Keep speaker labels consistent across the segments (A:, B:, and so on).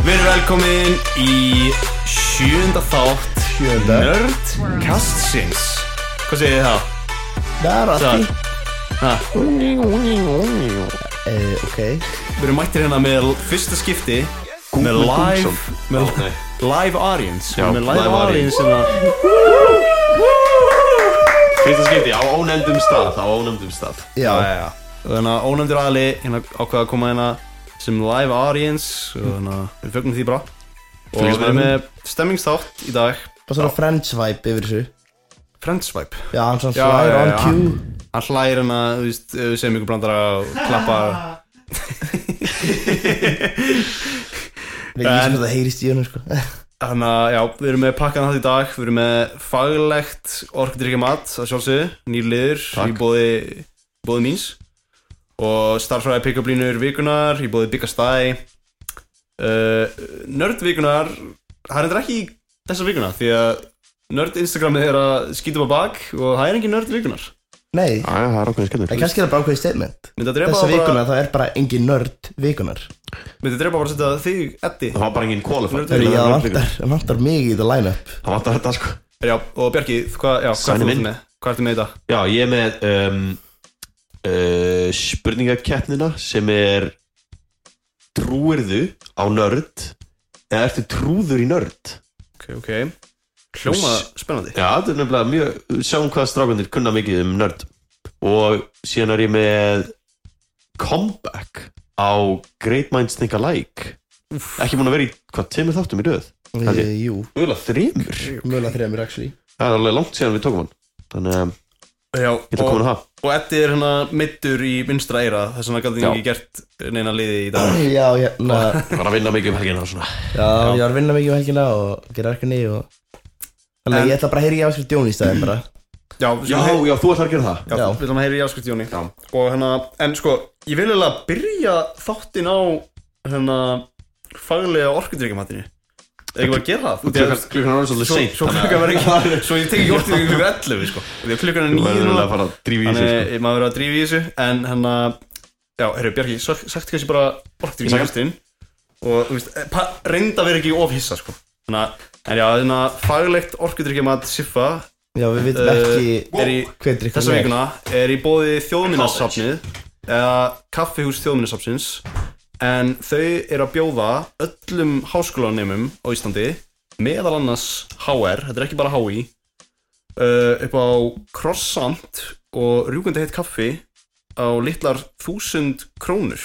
A: Verið velkomin í sjönda þátt
B: Sjönda.
A: Nerd Kastsins Hvað segir þið þá?
B: Það er
A: Það
B: allt
A: Ha,
B: í Ok
A: Við erum mættir hérna með fyrsta skipti Með live með
C: nei.
A: Live audience
C: Já,
A: Með live,
C: live
A: audience hérna.
C: Fyrsta skipti á ónefndum stað Á ónefndum stað
B: Já,
A: Já, já, já. Og Þannig að ónefndur aðli hérna ákveða að koma hérna sem live audience og þannig að við fögnum því bara og
C: Fylgjast
A: við
C: með
A: erum
C: þeim.
A: með stemmingsþátt í dag
B: bara svona friends vibe yfir þessu
A: Friendswipe
B: Já, hann svona
A: Já, já,
B: slær on
A: já,
B: cue
A: Hann hlægir hann að, hérna, þú veist, ef við segjum ykkur blandara og klappar
B: Við ekki
A: En-
B: sem þetta heyrist í honum sko
A: Þannig að, já, við erum með pakkan þetta í dag Við erum með faglegt orkudrykja mat að sjálfsögðu, nýr liður í bóði, bóði míns og starfræði pick-up-línur vikunar í bóði byggastæði uh, Nörd vikunar það er endur ekki í þessa vikuna því að nörd Instagramið er að skýtum á bak og það er engin nörd vikunar
B: Nei,
C: Æja, það er okkur
B: en
C: skemmtilegt
B: kannski er það bara ákveðið statement
A: myndi að drepa
B: Þessa
A: bara,
B: vikuna þá er bara engin nörd vikunar
A: myndi að drepa bara að setja þig, Eddi
C: Það var bara engin qualified
A: Það
B: Það
A: er
B: er
A: nörd
B: ég að vantar, það vantar mig í það line-up
C: Það vantar þetta sko
A: Já, og Bjarki, hvað, já, hvað
C: Sæni
A: ertu
C: minn.
A: með? Hvað ertu með í dag?
C: Já, ég er með um, uh, Spurningakeppnina Sem er Trúirðu á nörd Eða ertu trúður í nörd
A: Ok, ok Hljóma spennandi
C: Já, þetta er nefnilega mjög Sjáum hvað strákundir kunna mikið um nörd Og síðan er ég með Comeback Á Great Minds Think Alike Ekki múin að vera í hvað tveimur þáttum í röð Held
B: Eh, Jú,
C: Mögulega þremur
B: mögulega þremur actually
C: Það er alveg langt síðan við tókum hann Þannig að ég
A: Já,
C: ætla að koma
A: og,
C: að hafa
A: og Eddi er hérna mittur í vinstra eira þess vegna gæti ég
C: Já.
A: ekki gert neina liði í dag
B: Já, hérna,
C: Ég var að vinna mikið um helgina og svona
B: já, ég var að vinna mikið um helgina og gera verkefni og Þannig
A: En-
B: að ég ætla bara að heyra í áskrift Jón í staðin bara
A: Já,
C: Já,
A: já,
C: já, þú ætlar að gera það
A: já,
B: já.
A: við ætlum að heyra í áskrift Jóni Og hérna, en sko, ég vil eiginlega byrja þáttinn á hérna faglega orkudryggjumatinu Ekki bara að gera það Því að-
C: Klukkan- Klukkan er orðin svolítið
A: Svo,
C: seint
A: svo klukkan verður ekki, svo ég tek ekki orkið ykkur 11 sko. Því að klukkan
C: Þú
A: er nýju
C: verður
A: núna
C: að fara að drífa í sig sko.
A: Þannig maður verður að drífa í þessu En hann að Já, herru, Bjarki, svo- sagt kannski bara orkdrýfing í
C: Ég
A: hlustin Og, þú veist, eh, pa- reynda að vera ekki of hissa, sko Þannig að, en já, þannig að faglegt orkudryggjumat Siffa
B: Já, við vitum
A: Eh,
B: ekki
A: er í
B: hver drikkur
A: þessa vikuna er í bóði þjóðminnarsafnið eða kaffihús þjóðminnarsafnsins en þau eru að bjóða öllum háskólanemum á Íslandi meðal annars HR, þetta er ekki bara HÍ uh, upp á krossant og rjúkandi heitt kaffi á litlar þúsund krónur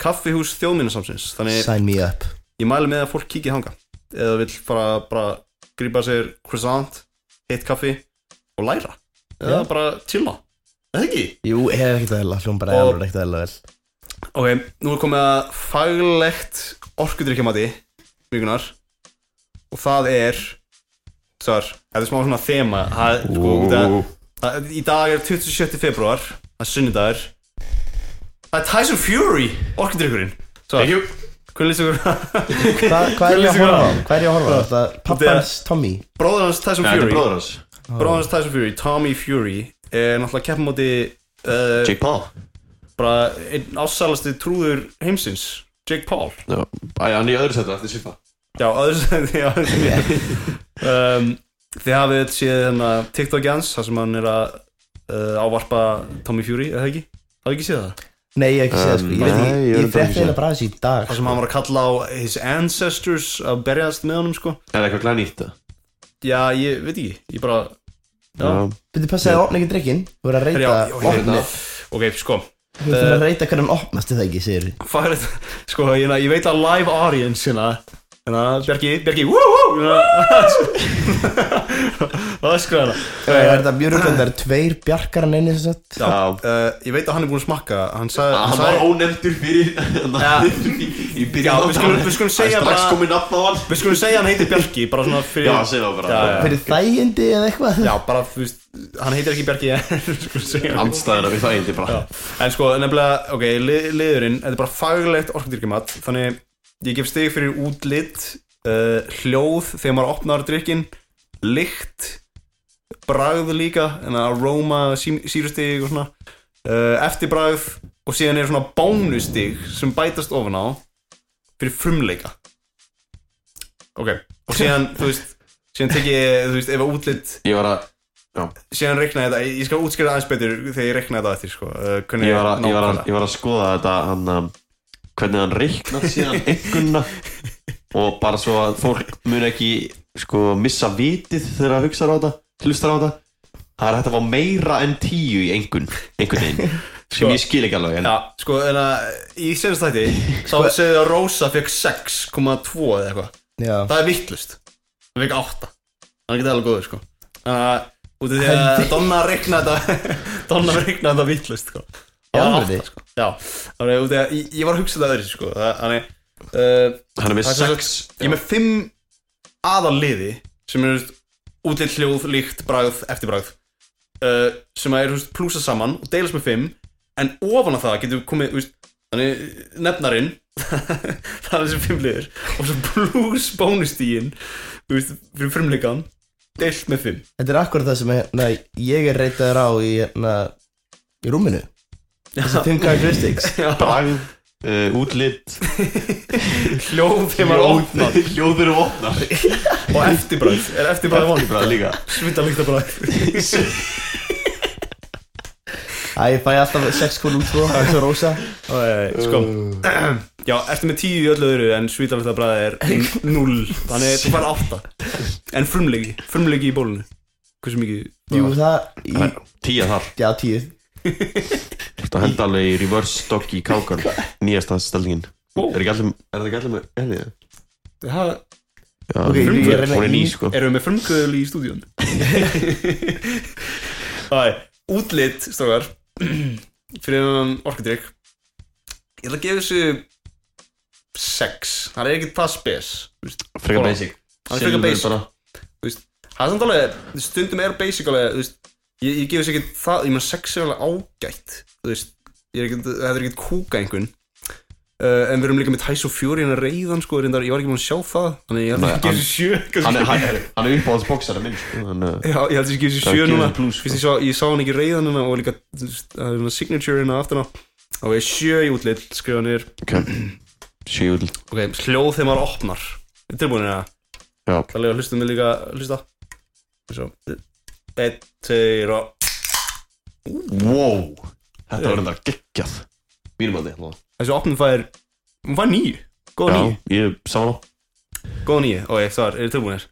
A: kaffihús þjóðminnarsafnsins þannig
B: Sign me up
A: ég mæli með að fólk kíkið þanga eða vill fara bara grípa sér croissant, heitt kaffi og læra eða
B: Já.
A: bara chilla eða ekki
B: Jú, hefur ekkert aðeila, hljóm bara
A: Og-
B: hefur ekkert aðeila vel
A: ok, nú er komið að faglegt orkudrykkjamati vikunar og það er þar, þetta er smá svona þema það, er, sko, út að,
C: Ú,
A: það, í dag er 27. februar það er sunnudagur það er Tyson Fury orkudrykkurinn
C: Thank you
A: hvernig lýst ykkur
B: Hva, Hvað er ég að
A: Lýsingar
B: horfa
A: á.
B: á? Hvað er ég að horfa á? Það pappans Tommy
A: bróður hans Tyson
C: Þetta er
A: Fury
C: bróður hans
A: Bróðans Oh. Tyson Fury, Tommy Fury er náttúrulega keppum móti uh,
C: Jake Paul
A: bara einn ásælasti trúður heimsins Jake Paul
C: Já, Æ, hann er í öðru setu eftir Sifa
A: Já, öðru sem því að um, Þið hafið öll séð hennar TikTok hans þar sem hann er að uh, ávarpa Tommy Fury, eða ekki? Hafið ekki séð það?
B: Nei, ég hef ekki séð það sko Ég
C: Um,
B: veit
C: nei, ég
B: ekki,
C: er
B: ég
C: þetta
B: frétti
C: ekki
B: hérna bara þessi í dag
A: Þar sem hann var að kalla á his ancestors að berjast með honum sko
C: Er eitthvað glæð nýtt það?
A: Já, ég veit ekki, ég bara Já,
C: Já.
B: Byrðu passa að opna ekki drikkin Þú verður að
A: Herri,
B: reyta
A: já, já,
C: hérna.
B: opnið
A: ok, sko
B: Þú verður að reyta hvernig hann opnast eða ekki, segir
A: farið, sko, ég, ég veit að live audience hérna, hérna, Bjarki, Bjarki, wú, wú, hérna, öskra
B: Það
A: hérna.
B: er þetta mjög röglega, það er tveir bjarkar en einu sem sagt
A: Já, uh, ég veit að hann er búinn að smakka, hann sagði,
C: Hann
A: Ah, hann
C: var
A: sagði,
C: ónefndur fyrir
A: Já.
C: Í
A: Já,
C: byrjun
A: við skulum- við skulum
C: bara Það
A: segja
C: er
A: bara-
C: strax komið nafn á hann
A: við skulum segja hann heitir Bjarki, bara svona fyrir,
C: Já, segja það bara
A: Já, já.
B: Fyrir þægindi eða eitthvað
A: já, bara, þú veist, hann heitir ekki Bjarki, en við skulum segja hann.
C: Andstæðina við það eindi bara
A: Já. En sko, nefnilega, ok, li, liðurinn, þetta er bara faglegt orkudyrkjumat, þannig ég gef stig fyrir útlit, uh, hljóð þegar maður opnar drykkin, lykt, bragð líka, en að aroma, sí, sírustig og svona, uh, eftirbragð og síðan er svona bónustig sem bætast ofan á fyrir frumleika. ok Og síðan, þú veist Síðan tek ég, þú veist, ef að útlitt
D: Ég var að,
A: Síðan reikna ég þetta Ég skal útskýra aðeins betur þegar ég reikna þetta eftir, sko uh,
D: ég var að, ég var að, ég var að skoða þetta hann, um, hvernig hann reiknað síðan einhverna og bara svo að fólk mun ekki sko missa vitið þegar það hugsa á þetta hlustar á þetta það er hægt að fá meira en tíu í einhvern einhvern veginn, sem
A: Sko.
D: ég skil ekki alveg en,
A: Já, sko, en að Í senast þætti Þá
D: Sko-
A: segði að Rósa fekk 6,2 eða eitthvað
B: Já,
A: Það er vittlust Það fekk 8 Það er ekki alveg góður, sko Þannig að Út af því að Donna reikna þetta Donna reikna þetta vittlust, sko
B: Í
A: Það var
B: alvöru?
A: átta, sko. Já, þannig að út af því að ég- Ég var að hugsa þetta öðru, sko Þannig uh,
D: hann er með
A: Það er
D: sex
A: Ég er með fimm aðalliði sem eru útlitt hljóð, líkt, bragð, eftirbragð uh, sem eru þú veist, plúsað saman og deilast með fimm en ofan að það getum við komið þú veist, þannig, nefnarinn það er þessi fimm liður og svo plús bónustíin fyrir frumleikan deilt með fimm
B: þetta er akkur það sem hérna, ég er reytaður á í, hérna, í rúminu Þessi fimm characteristics
D: bragð, uh, útlitt
A: hljóð þeim var ofnað
D: hljóður og opnar
A: og eftirbragð er eftirbragð vonið
D: bragð líka
A: svita líkt að
B: Æ, ég fæ alltaf 6,2 Það er svo rosa
A: bragð sko Já, ertu með tíu í öllu öðru en svítalöftabræði er 0 Þannig þú fær átta En frumleiki, frumleiki í bólunni Hversu mikið?
B: Jú, það í,
D: tíja þar,
B: Já, tíu
D: þetta henda alveg í reverse doggy í kákan, nýjasta stelningin
A: Ó.
D: er ekki allir, er það ekki allir með henni það?
A: það
D: Já,
B: Ok,
D: hún
B: ég
D: er
B: er
D: hún er ný
B: í-
D: sko
A: Erum við með frumkvöðul í stúdíun? Það er útlit, strókar Fyrir um orkudrykk Ég ætla að gefa þessu 6 Það er ekki það spes þú veist.
D: frekar
A: Ó.
D: basic
A: Hann er frekar
D: Silfur
A: basic.
D: bara.
A: Það er samt alveg Stundum er basic alveg þú veist, Ég, ég gefa þessu ekki það Ég meina 6 er alveg ágætt Þú veist Ég er ekki Þetta er ekki kúka einhvern uh, En við erum líka með Tæs og Fjóri Hérna reyðan sko reyndar, Ég var ekki búin að sjá það Þannig ég ætla
D: Nei,
A: að gefa
D: hann-
A: þessu 7
D: hann
A: kannski.
D: er, hann er, hann er uppáhaldsboksara minn sko, hann, uh,
A: Já, ég held að ég gefi
D: Það
A: sér sjö
D: gefur
A: núna
D: plús,
A: Fyrst ég sá, ég sá hann ekki reyðan hérna og líka þú veist, það er hérna signature hérna aftan á og ég sjö í útlitt, skrifa nýr
D: ok sjúl
A: Ok, hljóð þegar maður opnar Þetta er tilbúin hérna,
D: já,
A: það lega hlustum við líka hlusta Svo, einn, tveir og
D: wow þetta var þetta geggjað mínum að þið
A: Þessi opnum fær, hún fær nýju Góð nýju,
D: já, ég sá hana
A: góð nýju Ok, það er tilbúin hér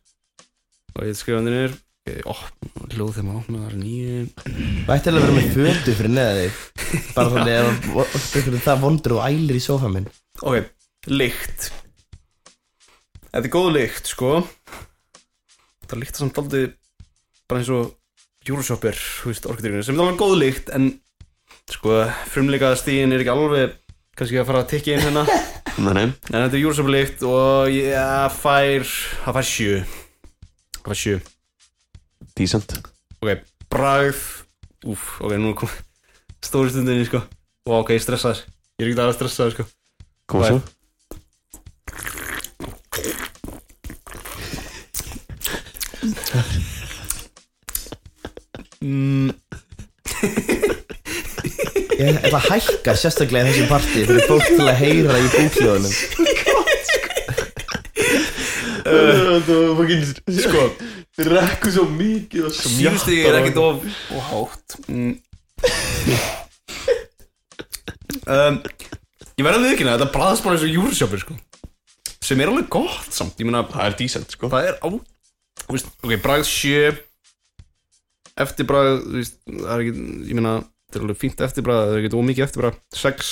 A: Og ég skrifa nýr Hljóð þegar maður opnar, nýju
B: Mætti alveg að vera með fötu fyrir neða þig Bara þannig að vo- ykkur er það vondur og ælir í sófa minn
A: Ok, lykt Þetta er góð lykt, sko Það lykta samt aldrei bara eins og Euroshopper, þú veist, orkudrykkurinn sem er alveg góð lykt, en sko, frumleikaða stíðin er ekki alveg kannski að fara að tikka inn hérna en
D: nei, nei,
A: þetta er Euroshopper lykt og ég fær það fær sjö það fær sjö
D: decent
A: Ok, bragð Úf, ok, nú er kom stóri stundinni, sko Og ok, stressaður Ég er ekki að stressaður, sko
D: koma svo
A: mm,
B: Ég ætla að hækka sérstaklega í þessu partí Fyrir fólk til að heyra í búkljóðunum
D: þetta var fucking
A: Sko,
D: þið rekku svo mikið
A: Sjústig Sko, er ekkert of og hátt mm. um, Ég verði að viðkynna þetta bræðast bara eins og júrisjópir sko sem er alveg gott samt ég meina
D: það er decent sko
A: það er á þú veist, ok, bragð sjö eftirbragð þú veist, það er ekki ég meina þetta er alveg fínt eftirbragð það er ekki ómikið eftirbragð sex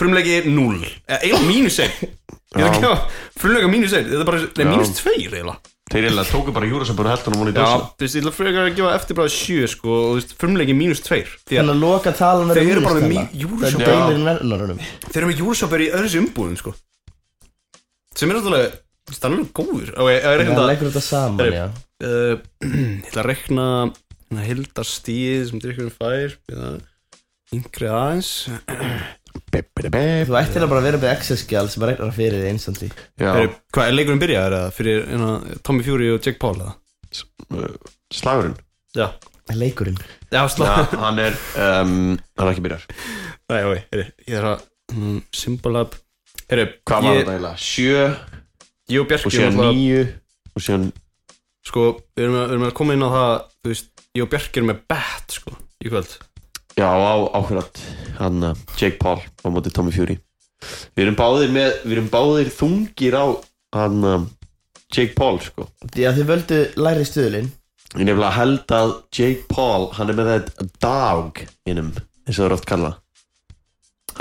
A: frumleiki 0 eða eiginlega mínus 1 ég
D: Já.
A: þarf ekki að frumleika mínus 1 þetta er bara nei,
D: Já.
A: mínus 2 eiginlega
D: þeir eiginlega tóku bara júra sem bara heldur hún í sko.
A: Já,
D: dósa
A: þú veist, ég ætla frekar að gefa eftir bara 7 sko, og þú veist, frumleiki mínus 2 því að
B: Þannig að loka talan
A: Þeir eru bara með mí-
B: Það
A: Euroshopper.
B: er deilir verðunarunum
A: þeir eru með júlsjópar í öðru umbúðum sko. sem er náttúrulega þú veist, það er alveg góður og ég, ég er
B: Það
A: reynda
B: leggur þetta saman,
A: Þeir-
B: já
A: uh, ég ætla að rekna hildastíð sem drikkurinn fær við það yngri aðeins
B: Þú ættir að bara vera með access-gjál sem að regnar fyrir þig instantly
D: já,
A: Heru, hvað er leikurinn byrjaður eða fyrir hérna, Tommy Fury og Jake Paul eða?
D: uh, slagurinn
A: Já,
B: Leikurinn
A: já, slá
D: já, hann er um, hann er ekki byrjar
A: Nei, ok, heru, ég er að mm, Symbolab Heru,
D: hvað var
A: ég,
D: þetta eiginlega? sjö
A: Ég og Bjarki
D: og síðan
A: náttúrulega-
D: nýju og síðan
A: sko, við erum, að, við erum að koma inn á það þú veist, ég og Bjarki erum með bet sko, í kvöld
D: Já, á, ákveðat hann uh, Jake Paul á móti Tommy Fury Við erum báðir, með, við erum báðir þungir á hann uh, Jake Paul sko
B: Því að þið völdu læri stuðlin
D: Ég nefnilega held að Jake Paul hann er með þetta dog innum eins og það er oft kalla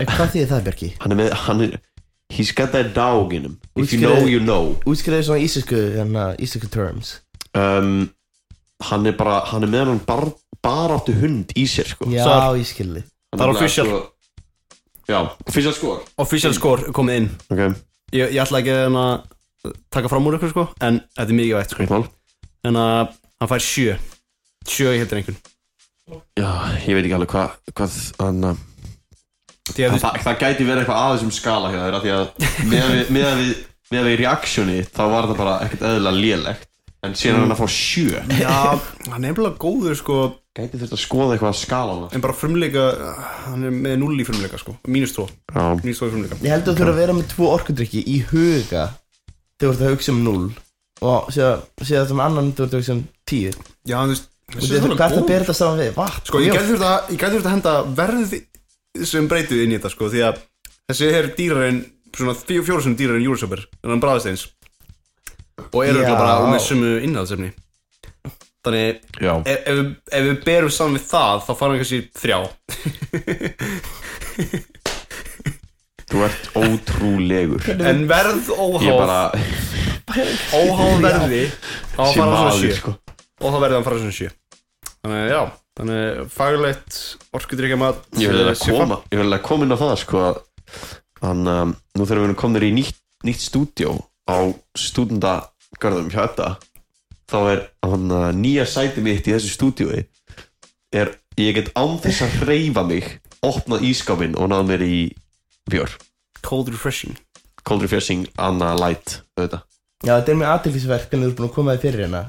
B: En hvað þýðir það, Bjarki?
D: hann er með, hann er he's got that dog innum if you
B: Útskýrðu-
D: know you know
B: Útskriðu svona íslensku, hérna, íslensku terms
D: um, hann er bara, hann er með hann bar, baráttu hund í sér sko
B: Já,
A: Svar.
B: ég skilði
D: Hann
A: það er
D: nefnilega
A: official.
D: sko- Já, official score
A: official score er komið inn
D: Ok,
A: ég, ég ætla ekki að hérna taka fram úr ykkur sko, en þetta er mikið vægt sko.
D: ekki mál
A: en að hann fær sjö sjö í heldur einhvern
D: Já, ég veit ekki alveg hvað hvað hann uh,
A: því að
D: það,
A: þú
D: það, það gæti verið eitthvað aðeins um skala hjá þér af því að meðan við, meðan við, meðan við reactioni þá var það bara ekkert eðlilega lélegt en síðan er hann að fá sjö
A: já, hann er bara góður sko
D: gæti þurft að skoða eitthvað að skala
A: en bara frumleika, hann er með null í frumleika sko, mínus tvo,
D: hann
A: mínus tvo í frumleika
B: Ég held að þú þurfa að vera með tvo orkudrykki í huga Þegar þú ert að hugsa um 0 Og séða þetta með annan þú ert að hugsa um 10 Og
A: já, þú veist, þessi er
B: þetta er hvert að
A: alveg góð
B: bera þetta saman við Vatn,
A: sko, ég gæti þurft að- ég gæti þurft að henda verði sem breytið inn í þetta sko, því að þessi er dýrar en svona fjóru fjóru sem dýrar en júrisöper en hann bræðist eins og eru
B: Já.
A: örugglega bara með sumu innhaldsefni þannig
D: já,
A: ef, ef, við- ef við berum saman við það þá fara hann kannski þrjá
D: þú ert ótrúlegur ég
A: en verð óháð
D: bara
A: óháð verði
D: sé
A: þá fara hann svona
D: maður
A: sjö
D: sko.
A: og þá verði hann fara svona sjö þannig að já þannig faglegt orkudrykja mat eh,
D: ég vil að koma ég vil að koma inn á það sko að- hann, um, nú þegar við erum komin í nýtt, nýtt stúdjó á stúdendagörðum hjá þetta þá er hann uh, nýja sæti mitt í þessu stúdjói er ég get án þess að hreyfa mig opnað ískápinn og náð mér í bjór
A: cold refreshing
D: cold refreshing, anna light auðvitað
B: Já, þetta er með aðtillisverk en þú ert búin að koma þér fyrir hérna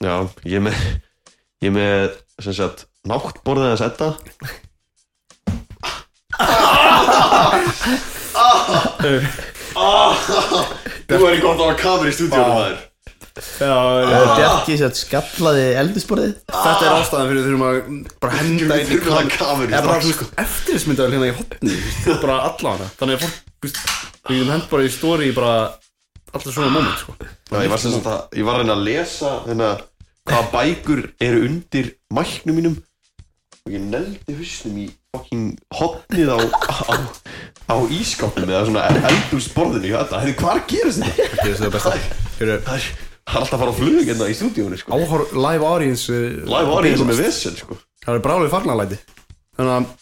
D: Já, ég er með ég er með, sem sagt, náttborðið að setta Þú er ekki gott að hafa kamer í stúdíónu maður
A: já,
B: Ah. Bjarki sér skallaði eldisborðið
A: Þetta er ástæðan fyrir þurfum að bara henda
D: Við
A: inn í
D: þurfum að hafa kamer í
A: Eða bara, þú
D: strax
A: veist, eftirlitsmyndavel hérna í hotni bara alla hana þannig að fólk, þú veist, við getum hend bara í stóri í bara alltaf svona moment, sko
D: Já, ég var sem sagt að, ég var að reyna að lesa hérna, hvaða bækur eru undir mæknum mínum og ég neldi hausnum í fucking hotnið á, á, á ískápnum eða svona eldúsborðinu hjá þetta, hefði hvað gerist þetta?
A: Það gerist þetta besta Fyrir
D: Það er það er alltaf að fara á flug hérna í stúdíónu sko.
A: áhor, live audience eh,
D: Live audience með vesen sko.
A: Það er bráðið farnalæti Þannig að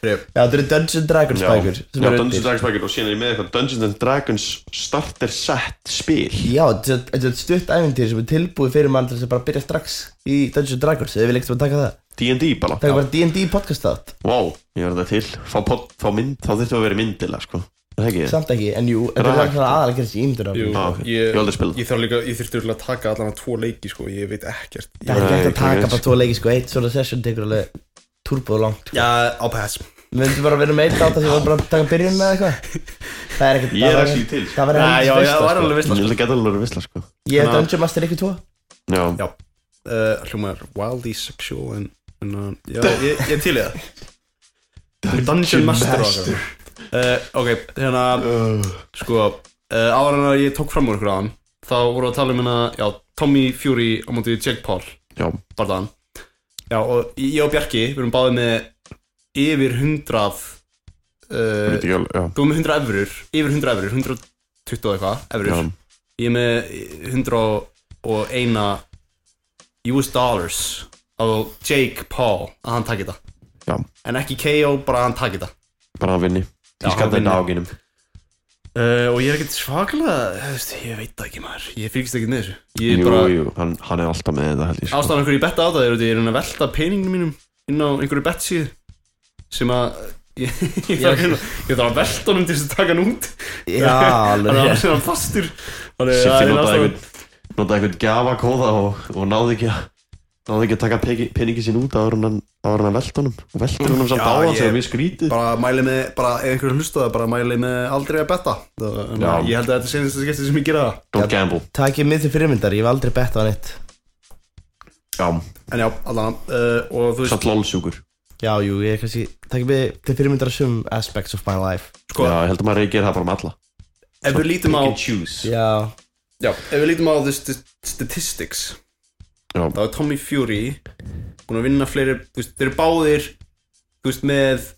A: Fyrir
B: Já, þetta eru Dungeons and Dragons bækur sem
D: Já,
B: eru
D: Dungeons and
B: undir.
D: Dragons bækur og síðan er ég með eitthvað Dungeons and Dragons starter set spil
B: Já, þetta er- þetta er stutt æfintýri sem er tilbúið fyrir mann til þess að bara byrja strax í Dungeons and Dragons eða við leikst að taka það
D: D&D bara
B: Taka bara D&D podcast þátt
D: Vá, ég verði það til Fá, pod, fá mynd, þá þurftum við að vera myndilega sko. Er það ekki?
B: Samt ekki, en jú, þetta
D: Rakt.
B: er svona aðalega gerist í ímyndur
A: Jú,
D: Ah, ok. Ég
A: ég,
D: hef aldrei spilað.
A: ég þarf líka, ég þurfti örugglega að taka allan að tvo leiki, sko, ég veit ekkert
B: Það er ekki
D: Nei,
B: hægt að taka
D: ekki.
B: bara tvo leiki sko, eitt svona session tekur alveg turbóð langt
A: Já, á pass
B: Við myndum bara að vera með eitt átt að því að bara taka byrjun eða eitthvað Það er ekkert
D: Ég er
B: það
D: actually
B: væri-
D: til, sko.
B: Það verður
A: Nei, já, já, það var
B: helst
D: Ég
A: alveg vissla,
D: held að geta alveg að vissla sko.
B: veist Ég er
A: Þannig að-
B: Dungeon Master ykkur tvo
D: Já.
A: Já, uh, hljómaður wildly sexual en, en uh, já, ég, ég til í það Dungeon Master, Master. Uh, Ok, hérna sko, uh, ára en að ég tók fram úr ykkur aðan þá voru að tala um hérna, já, Tommy Fury á móti Jake Paul,
D: Já.
A: barðan Já, og ég og Bjarki, við erum báðið með yfir hundrað
D: Ég
A: uh,
D: veit ekki alveg, já.
A: Þú erum með 100 efrur, yfir 100 efrur, 120 og eitthvað efrur
D: Já.
A: Ég er með 101 US dollars á Jake Paul að hann taki þetta
D: Já.
A: En ekki KO, bara að hann taki þetta
D: Bara að vinni
A: Já,
D: Ég skal
A: hann vinni.
D: þetta áginum
A: uh, Og ég er ekkert svaklega, þú veist, ég veit það ekki maður, ég fylgist ekki með þessu Ég
D: Jú,
A: er bara,
D: jú, hann, hann er alltaf með þetta held ég sko.
A: ástæðan einhverju ég betta á það er að ég er að velta peninginu mínum inn á einhverju bettsíð sem að ég, ég, þarf, að- ég þarf að velta honum til þess að taka hann út Þannig
B: Já,
A: að
B: alveg
A: hann er hann fastur Þannig að
D: Siffi
A: það er
D: notaði
A: ástæðan
D: einhvern notaði einhvern gjafakóða og, og náði ekki að
C: náðu ekki að taka peki- peningi sín út áður en hann áður en hann velt honum og veltur honum samt á hann sem
A: ég-
C: er mjög skrítið
A: bara mæli með, bara ef einhverjum hlusta það bara mæli með aldrei að betta það, en
C: Já.
A: ég held að þetta er senast skipti sem ég gera það
C: Don't gamble
B: Takk ég mið til fyrirmyndar, ég hef aldrei bett á neitt
C: Já,
A: en já, allan uh, og þú veist,
C: samt lolsjúkur
B: Já, jú, ég er kannski Takk ég mið til fyrirmyndar á sum aspects of my life
A: Sko-
C: Já, ég held að maður reykir það bara um alla
A: ef við lítum á
C: Pick and choose
B: Já,
A: já, ef við lítum á the st statistics
C: Já.
A: þá er Tommy Fury búin að vinna fleiri, þú veist, þeir eru báðir þú veist, með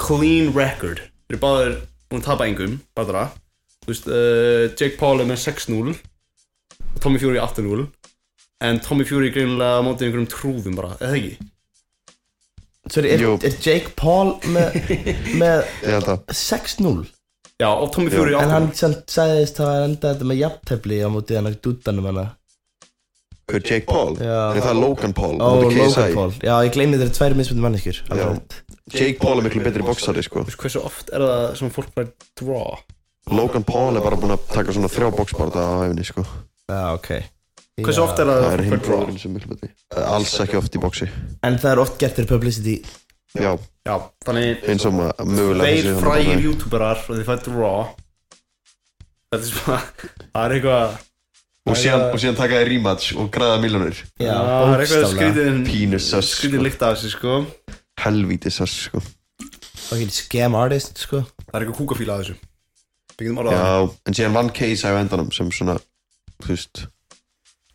A: clean record, þeir eru báðir búin að tapa engum, bara þú veist, uh, Jake Paul er með 6-0 og Tommy Fury 8-0 en Tommy Fury er greinilega á móti einhverjum trúðum bara, eða ekki?
B: sorry, er,
C: Jú.
B: er Jake Paul með, með
C: Ég held að
B: 6-0
A: Já, og Tommy Fury
B: En
A: 8-0
B: hann sem sagðist að enda þetta með jafntefli á móti hann að dútanum hana
D: Hver Jake Paul?
B: Já.
D: Er það Logan Paul?
B: Ó,
D: móti KSI?
B: Logan Paul Já, ég gleymi þeir eru tværi mismunum manneskjur alveg
D: Já.
B: rétt.
D: Jake Paul er miklu betri boksari sko
A: Þú veist, hversu oft er það sem fólk fær draw
D: Logan Paul er bara búinn að taka svona þrjá boksparta á æfni sko
B: Já, ok
A: hversu oft er það
D: Það er
A: sem
D: hinn
A: fólk fær draw
D: bróðurinn sem er miklu betri Eh, Alls ekki oft í boksi
B: En það er oft gert fyrir publicity
D: Já,
A: já, þannig
D: eins og maður mögulega
A: þeir
D: sé hann
A: frægir
D: bara-
A: youtuberar og þeir fær draw þetta er svona það er eitthvað
D: Og síðan, og síðan taka þér rematch og græða miljonir
B: Já,
A: það er eitthvað skrýtin
D: Pínus sess
A: skrýtin
D: sko.
A: líkt af þessu sko það
D: Helvíti sess sko
B: Ok, scam artist, sko
A: er eitthvað kúkafíla af þessu við getum orðað það
D: Já, en síðan vann Case á endanum sem svona, þú veist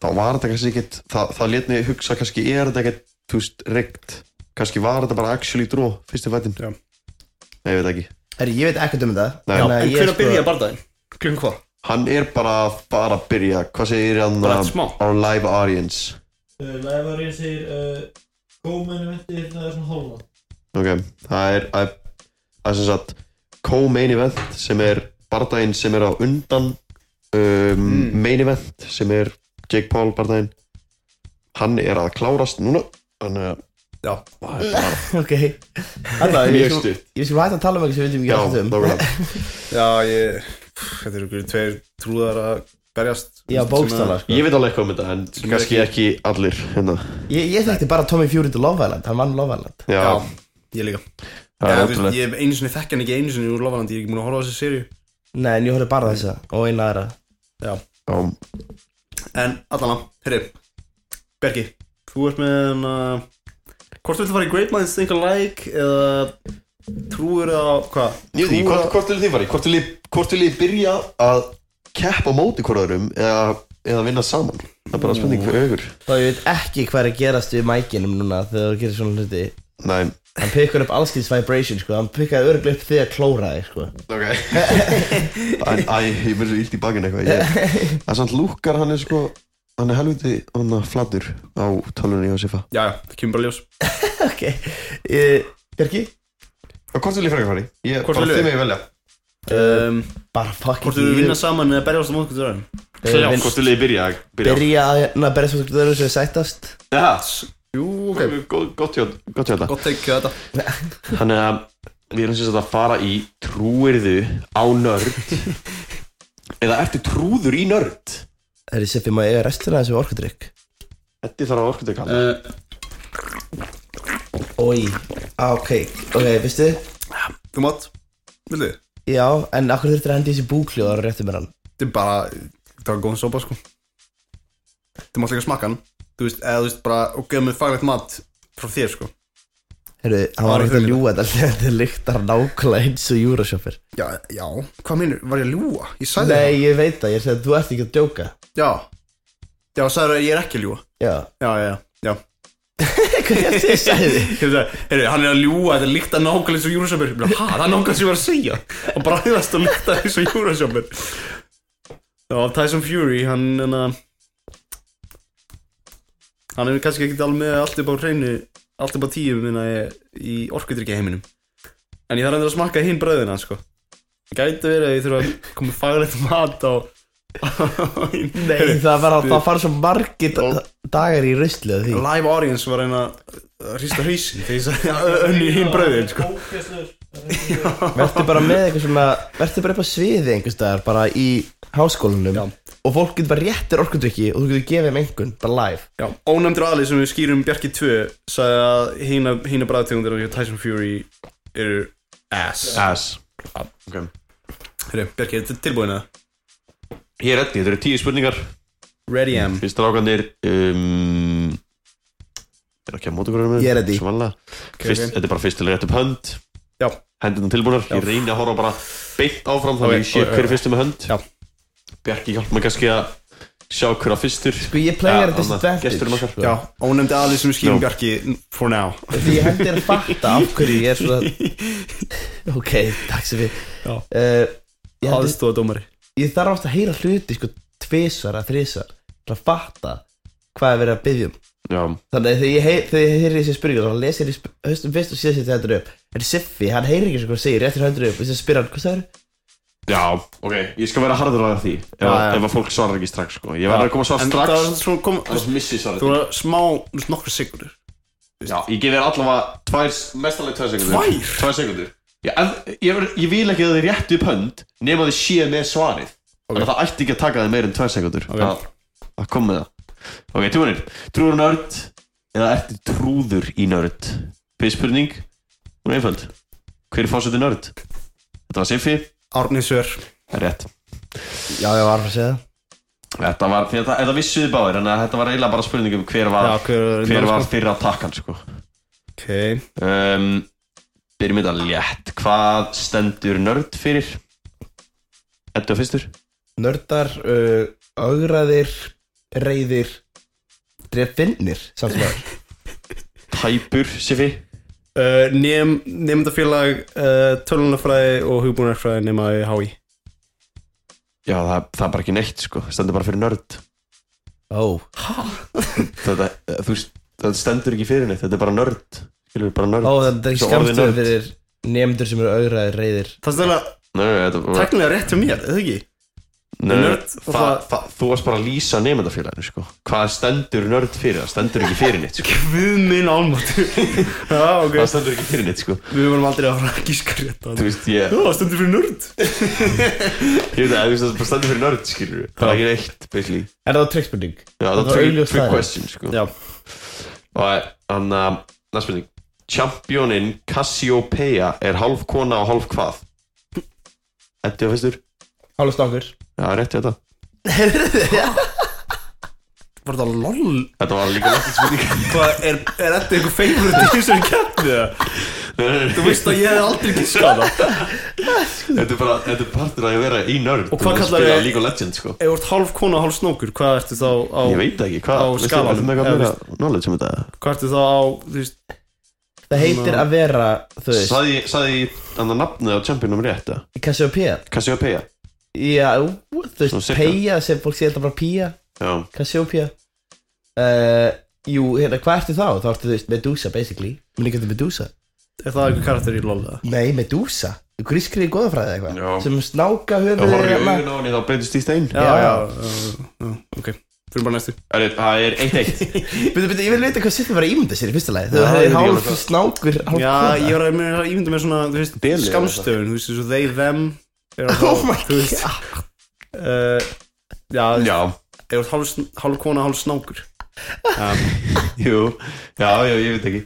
D: þá var þetta kannski ekkit það, það let mig hugsa kannski er þetta ekkit þú veist, reykt, kannski var þetta bara actually dró, fyrstu fættin
A: Já.
D: Nei, ég veit ekki,
B: Herri, ég veit ekkert um það
D: Nei.
B: Þannig að
A: en
B: ég,
A: hver
B: sko-
A: að byrja barndaginn? klukkan hvað?
D: hann er bara bara að byrja, hvað segir hann
A: Bara
D: um,
A: smá.
D: our live audience
E: Læfari Eh, segir uh, Gómen venti hérna það er svona hálfa
D: ok, það er það er- það er sem sagt co-main event sem er bardaginn sem er á undan um,
A: Mm.
D: main event sem er Jake Paul bardaginn hann er að klárast núna þannig að
A: já,
D: það er bara
B: Ok Alla,
D: Mjög
B: ég, ég,
D: stutt.
B: ég skal hægt að tala um eitthvað sem við veitum ekki
D: Já,
B: alltaf um
D: nákvæmlega.
A: já ég þetta eru einhverju tveir trúðar að berjast
B: Já, bókstala, sko
C: Ég veit alveg eitthvað um þetta en
A: Sem er
D: kannski ekki allir hérna.
B: Ég, ég þekkti bara Tommy Fury til Love Island Hann vann Love Island
D: já,
A: já, ég líka
D: það
A: Já,
D: er
A: þú veist,
D: ótrúlega
A: ég hef einu sinni þekk hann ekki einu sinni úr Lofaland, ég er ekki múin að horfa á þessi sériu
B: Nei, en ég horfði bara á þessa Og eina aðra
A: Já,
D: Já,
A: en allan að, herri Bergi, þú ert með hann uh, Hvort viltu fara í Great Minds Think Alike eða trúir á, hvað?
D: ég veit ekki, hvort, hvort vil þið fari hvort vil, ég- hvort vil ég byrja að keppa á móti hvort öðrum eða, eða vinna saman það er bara spurning fyrir augur
B: Þá ég veit ekki hvað er að gerast við mækinum núna Þegar þú gerir svona hluti
D: Nei,
B: Hann pikkar upp allskins vibration, sko Hann pikkaði örglega upp þig að klóra þig, sko
D: ok Æ, æ, ég verður illt í bakinn eitthvað ég- Það er samt lúkar, hann er sko Hann er helviti, hann er flatur á tölunni Jósefa
A: Já, já, það kemur bara ljós
B: Ok Eh, Bjarki?
D: Og hvort vil ég frekar fari? Ég,
A: Hvort vilju?
D: megið velja
C: Eh,
A: um,
B: Bara fucking
A: Hvort viltu vinna saman eða berjast á mótkvæmt öðrum?
B: Kljást.
C: Hvort vil Eh, ég byrja? byrja.
B: Byrja að hérna berja svo hvernig þau sættast
C: Ja,
A: Jú, ok,
C: gott- Gott hjá gott hjá þetta
A: gott tekið þetta
C: Þannig að við erum sem sagt að fara í trúirðu á nörd Eða ertu trúður í nörd?
B: Herri, Siffi, má ég eiga restina af þessu orkudrykk?
C: Þetta þarf að orkut ekki kalla
A: uh,
B: Ói, ah, ok, ok, veistu?
A: Þú mátt, viltu?
B: Já, en akkur þurftir að hendi þessi búkljóð og rétti mér hann
A: Þetta er bara, þetta var góðan sopa sko Þú mátt líka smakka hann Þú veist, eða þú veist bara, og gefa mig faglegt mat frá þér sko
B: Herru, hann
A: var
B: var ekkert
A: ekki
B: að ljúga þetta Þetta lyktar nákvæmlega eins og júrasjófir
A: Já, já, hvað meinur, var ég að ljúa? Ég sagði
B: Nei, ég veit það, ég segi að þú ert ekki að djóka
A: það Já, já, sagði það, ég er ekki að ljúa
B: Já
A: Já, já, já, já
B: Hvað er þetta ég sagði?
A: Heyru, hann er að ljúa, þetta líkta nákvæmlega eins og Júrasjópur Hæ, það er nákvæmlega sem ég var að segja Hann bræðast og líkta eins og Júrasjópur Já, Tyson Fury, hann hann, hann er kannski ekki alveg með allt upp á hreinu allt upp á tíu minna í orkudrykja heiminum en ég þarf endur að smakka hinn bröðina sko Gæti verið að ég þurfa að koma faglegt mat á
B: Nei,
A: Heyrðu,
B: það var það fara svo margir da- dagar í rusli að því
A: live audience var að reyna að hrista hrísin þegar ég sagði að önni hinn bröðin sko.
E: Ógeðslegur
B: Vertu bara með eitthvað svona Vertu bara upp á sviði einhvers staðar Bara í háskólanum Og fólk getur bara réttir orkudrykki Og þú getur gefið þeim einhvern Bara live
A: Já, ónefndur aðli sem við skýrum Bjarki 2 sagði að hína, hína bræðtegundir og Tyson Fury eru ass
D: Ass
A: Hérri, Bjarki, er þetta tilbúin að?
D: Ég er öll, þetta eru tíu spurningar
A: Ready am
D: Við strákanir um, Er ekki að móta hverju með
B: Ég er ready.
D: Svanlega Fyrst, Þetta er bara fyrstilega rétt upp hönd
A: Já.
D: Hendurinn tilbúnar Ég reyni að horfa bara beint áfram
A: Ok,
D: Þannig að ég sé
A: ok,
D: hver
A: ok.
D: er fyrstu með hönd
A: Já.
D: Bjarki hjálp mig kannski að sjá hver að fyrstur
B: Sko ég playar að
D: Gesturinn
B: disadvantage
D: okkar
A: Já, ónefndi aðli sem við skýrum
D: No.
A: Bjarki for now
B: Því ég hendir að fatta Af hverju ég er svona Ok, takk sem við
A: Já.
B: uh, ég, hendir,
A: Aðstóða dómari
B: ég þarf oft að heyra hluti Sko tvisvar að þrisvar Til að fatta Hvað er verið að byggja um
D: Já.
B: Þannig að þegar ég, heyr, þegar ég heyri þessi spurningar þá les ég þessi höstum fyrst og síðan setja hendur upp En Siffi, hann heyrir ekki sem hvað segir, réttir hendur upp og þess að spyr hann, hvað það er?
D: Já, ok, ég skal vera harður að því ef,
A: Já, já.
D: ef að fólk svarar ekki strax sko. Ég verður að koma að svara
A: En það var
D: strax
A: svona kom
D: Annars missi ég svarið
A: Þú var smá, nokkur sekundur
D: Já, ég gef þér allavega tvær, mestalega tvær sekundur
A: Tvær?
D: Tvær sekundur Já, ef, ég, ver, ég vil ekki að þið réttu upp hönd nema þið séu með svarið Þannig að það ætti ekki að taka þið meir en tvær sekundur
A: Ok.
D: að, að koma með það Ok, tjóðanir, trúður nörd eða ertu trúður í nörd Fyrst spurning, hún er einföld Hver er fórsetið nörd? Þetta var Siffi,
A: Árnisver
D: rétt
B: Já, ég var að segja það
D: Þetta var, því að þetta, þetta vissuði báðir en þetta var eiginlega bara spurning um hver var,
A: hver,
D: hver var fyrra takkan sko
A: Ok,
D: um, Byrjum við þetta létt Hvað stendur nörd fyrir? Þetta er fyrstur
B: Nördar, uh, augraðir, reyðir, drefinnir, samt sem aður
D: Tæpur, Sifi
A: uh, nem, Nemndafélag, uh, tölunarfræði og hugbúnarfræði nema í HÍ
D: Já, það, það er bara ekki neitt sko Stendur bara fyrir nörd
B: Ó,
D: Þetta, eh, þú, veist, þetta stendur ekki fyrir neitt Þetta er bara nörd Skilur við bara nörd
B: ó, það er ekki
D: Svo orðið
B: skamstöð
D: nörd.
B: fyrir nefndur sem eru augraðir, reyðir
A: Það er stæðlega
D: Nei, nei, þetta var
A: teknilega rétt hjá mér, eða ekki?
D: Nei, nei,
A: nörd og
D: það,
A: það-
D: það, Þú varst bara að lýsa nefndafélaginu sko Hvað stendur nörd fyrir? Það stendur ekki fyrir neitt sko
A: Við minn álmáttu Já, ok
D: Það stendur ekki fyrir neitt sko
A: Við vorum aldrei að fara að gíska rétt á
D: Þú
A: það
D: veist, ég,
A: Já, stundur fyrir
D: ég
A: nörd
D: veit að þú veist, það bara stendur fyrir nörd skilur við Það er ekki neitt, basically
B: Er það trickspurning?
D: Já, það
B: Þetta
D: er
B: var
D: three,
B: augljós
D: three
B: staðreynd.
D: question sko.
A: Já.
D: Og þannig að næst spurning Championin Cassiopeia er hálf kona og hálf hvað? Þetta er fyrstur
B: Hálf stangur
D: Já, rétti þetta
A: Var það lol?
D: Þetta var líka lægt spurning
A: Hvað, er, er þetta einhver favorite í þessari keppni það?
D: Nei, nei, nei.
A: Þú veist að ég hef aldrei gískað það
D: Þetta er bara, þetta er partur að ég vera í nörd
A: Og hvað
D: Þú
A: kallar
D: spila
A: þið-
D: League of Legends sko
A: Ef þú ert hálf kona og hálf snókur, hvað ertu þá á
D: Ég veit það ekki,
A: á
D: hvað veistu,
A: skalanum,
D: ertu með
A: eða
D: eitthvað meira knowledge um þetta?
A: Hvað ertu þá á, þú veist
B: Það heitir að vera, þú veist,
D: Saði ég- sagði ég annað nafnið á championum rétt eða?
B: Cassiopeia
D: Cassiopeia
B: Já, þú
D: Svona
B: veist,
D: cirka.
B: peia sem fólk sé þetta bara pía
D: Já,
B: Cassiopeia uh, Jú, hérna, hvað ertu þá? Þá ertu þú veist Medusa, basically Mér líka þetta Medusa
A: Er það einhver karakter í lol það?
B: Nei, Medusa Grískri í goðafræði eða
D: Já.
B: eitthvað Sem snáka hérna.
D: það
B: höfuð
D: horfir í augun á henni þá breytist í stein
A: Já,
B: Já.
A: já, já, já, ok Fyrir bara næstu
D: Herri, Það er eitt eitt
B: Býttu, býttu, ég vil vita hvað sittum var að ímynda sér í fyrsta lagi
D: Já,
B: Þegar
D: ég
B: það er
D: veit ekki
B: hálf
D: alveg hvað-
B: snákur, hálf
A: Já,
B: kona.
A: ég var að mér að ímynda mér svona, þú veist,
D: Deli eða
A: skamstöfun Þú veist, eins og they, them er að
B: Oh
A: fá,
B: my
A: þú veist,
B: god
A: uh, Já, þú veist,
D: Já,
A: ef þú ert hálf, sn- hálf kona, hálf snákur
D: Jú, já, já, ég veit ekki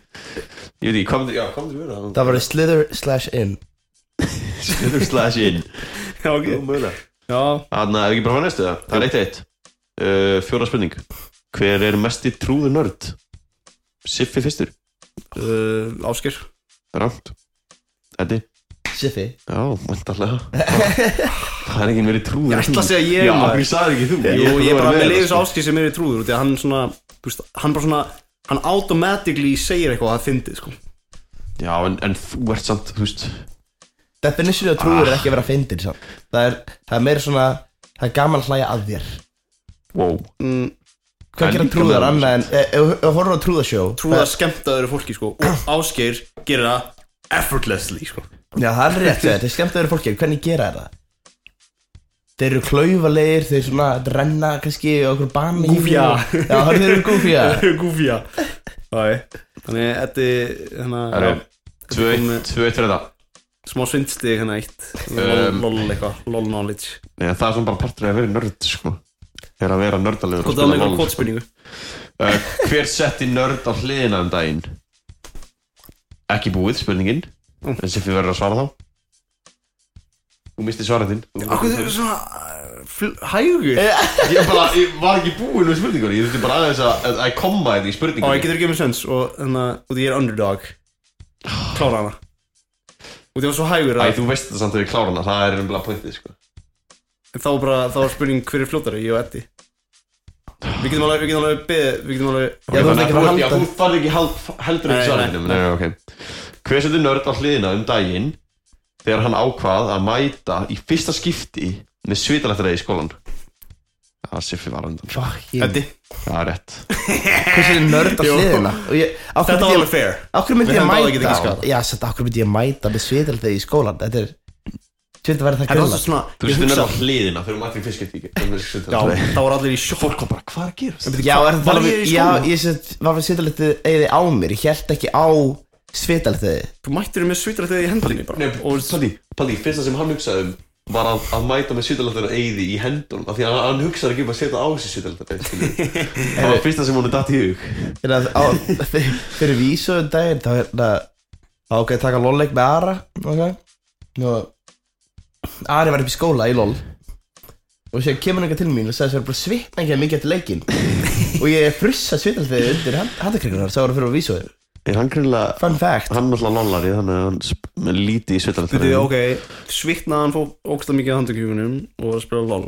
D: Ég veit ekki, kom, já, kom til vera
B: Það var Slither slash in
D: Slither slash in
A: Já, ok
D: Þannig
A: Já,
D: að ekki bara fara næstu það Það er eitt eitt uh, Fjóra spurning Hver er mesti trúðu nörd? Siffi fyrstur
A: uh, Ásker
D: Rámt Eddi
B: Siffi
D: Já, vantarlega Það er ekki verið trúður
A: Ég ætla að segja ég
D: Já, af
A: maður.
D: hverju sagði ekki þú
A: Jú,
D: ætla að
A: ég
D: vera
A: bara með
D: þetta,
A: leiðis
D: sko.
A: ásker sem er í trúður Því að hann svona, þú veist, hann bara svona Hann automatically segir eitthvað að það fyndi, sko
D: Já, en, en þú ert samt, þú veist
B: Definition of trúður er ekki að vera fyndin samt. það er, það er meira svona Það er gaman að hlæja að þér
D: Wow
A: mm,
B: Hvað
D: En
B: gera
D: líka
B: trúðar
D: meira
B: annað en e- Ef ef horfir á trúðasjó
A: Trúða skemmta öðru fólki, sko Og ásker gerir það effortlessly, sko
B: Já, það er rétt hjá þér. Þeir skemmt að vera fólki, en hvernig gera þeir það? Þeir eru klaufalegir, þeir svona renna kannski á okkur bana í
A: Gúfía.
B: hífinu. Já, það eru gúfja
A: Gúfja Þannig, þetta er, hérna
D: Herri,
A: já,
D: Tvö,
A: komið-
D: tvö, tvö, þetta
A: smá svindstig hérna eitt
C: Um.
A: lol eitthvað, lol knowledge
D: Nei, það er svona bara partur af að vera nörd sko. Er að vera nördalegur og
A: hvort það var með
D: spila
A: eitthvað
D: LOL sko.
A: kvotspurningu
D: uh, Hver setti nörd á hliðina um daginn? Ekki búið spurningin
B: Mm.
D: En Siffi verður að svara þá Þú misti svaretinn
A: Akkur þau eru svona fl- hægur
D: Ég bara, ég var ekki búin með spurningunni Ég þurfti bara aðeins að, að, að koma þetta í
A: Á, ég
D: spurningunni
A: getur ekki með sens og þannig að út af ég er underdog Klára hana Út af ég var svo hægur
D: Æ,
A: að
D: þú veist það samt þegar við klára hana Það er umlað pointið sko
A: en þá var bara, þá var spurning hver er fljótari, ég og Eddi Við getum alveg, við getum alveg beðið, við getum alveg
D: Þannig að
B: Já, þú ert ekki að
D: þú
B: fara
D: ert- já, Þú farði
B: að halda
D: ekki hal- heldur
A: Nei,
D: ekki
A: nei.
D: svaretinn Nei, ok Hver setur nörd á hliðina um daginn Þegar hann ákvað að mæta í fyrsta skipti Með svitalættilega í skólan Það Siffi var á undan sko.
B: Fucking
A: Eddi,
D: Það er rétt
B: Hversu er nörd á
A: Jú.
B: hliðina Og ég- á hverju
A: þetta var
B: myndi ég-
A: alveg fair
B: á hverju myndi
A: Við
B: ég
A: hefum báðir
B: mæta
A: getað
B: á-
A: giskað.
B: Já, satt, á hverju myndi ég mæta með sviðaldegi í skólan Þetta er Sviðald verður það
A: Það var
B: grilla
A: svo svona,
D: Þú
A: ég
D: setur nörd á
A: hugsa
D: hliðina þegar þú mætti í fyrsta skipti
A: Já,
D: Já
A: það voru allir í sjokk
D: Bara hvað er að gerast?
B: Já, er það
A: var
B: alveg-
A: ég í
B: já,
A: skólanum?
B: ég set, var fyrir sviðaldegi eigiði á mér Ég held ekki á sviðaldegi
A: Þú mættir með svitra þegar í hendinni bara
D: Nei, og Palli, Palli, fyrsta sem hann hugsaði um var að, að mæta með sýtalættina eyði í hendunum af því að hann, hann hugsaði ekki um að setja á sig sýtalættina það var fyrsta sem hún er datt í hug
B: Þegar á- þe- fyrir vísu um daginn þá er það ákveði að taka lolleik með Ara okay? og Ari var upp í skóla í lol og sér kemur hann eitthvað til mín og sagði að það er bara svitna ekki mikið eftir leikin og ég frussa svitalþið undir handakrikunar sá hann fyrir að vísu
D: er hann greinlega,
B: fun fact
D: hann náttúrulega lollari þannig að hann sp- með lítið í
A: Þetta er
D: sýtalættina
A: ok, sviktnaðan fók ógsta mikið að handtökjúkunum og var að spila LOL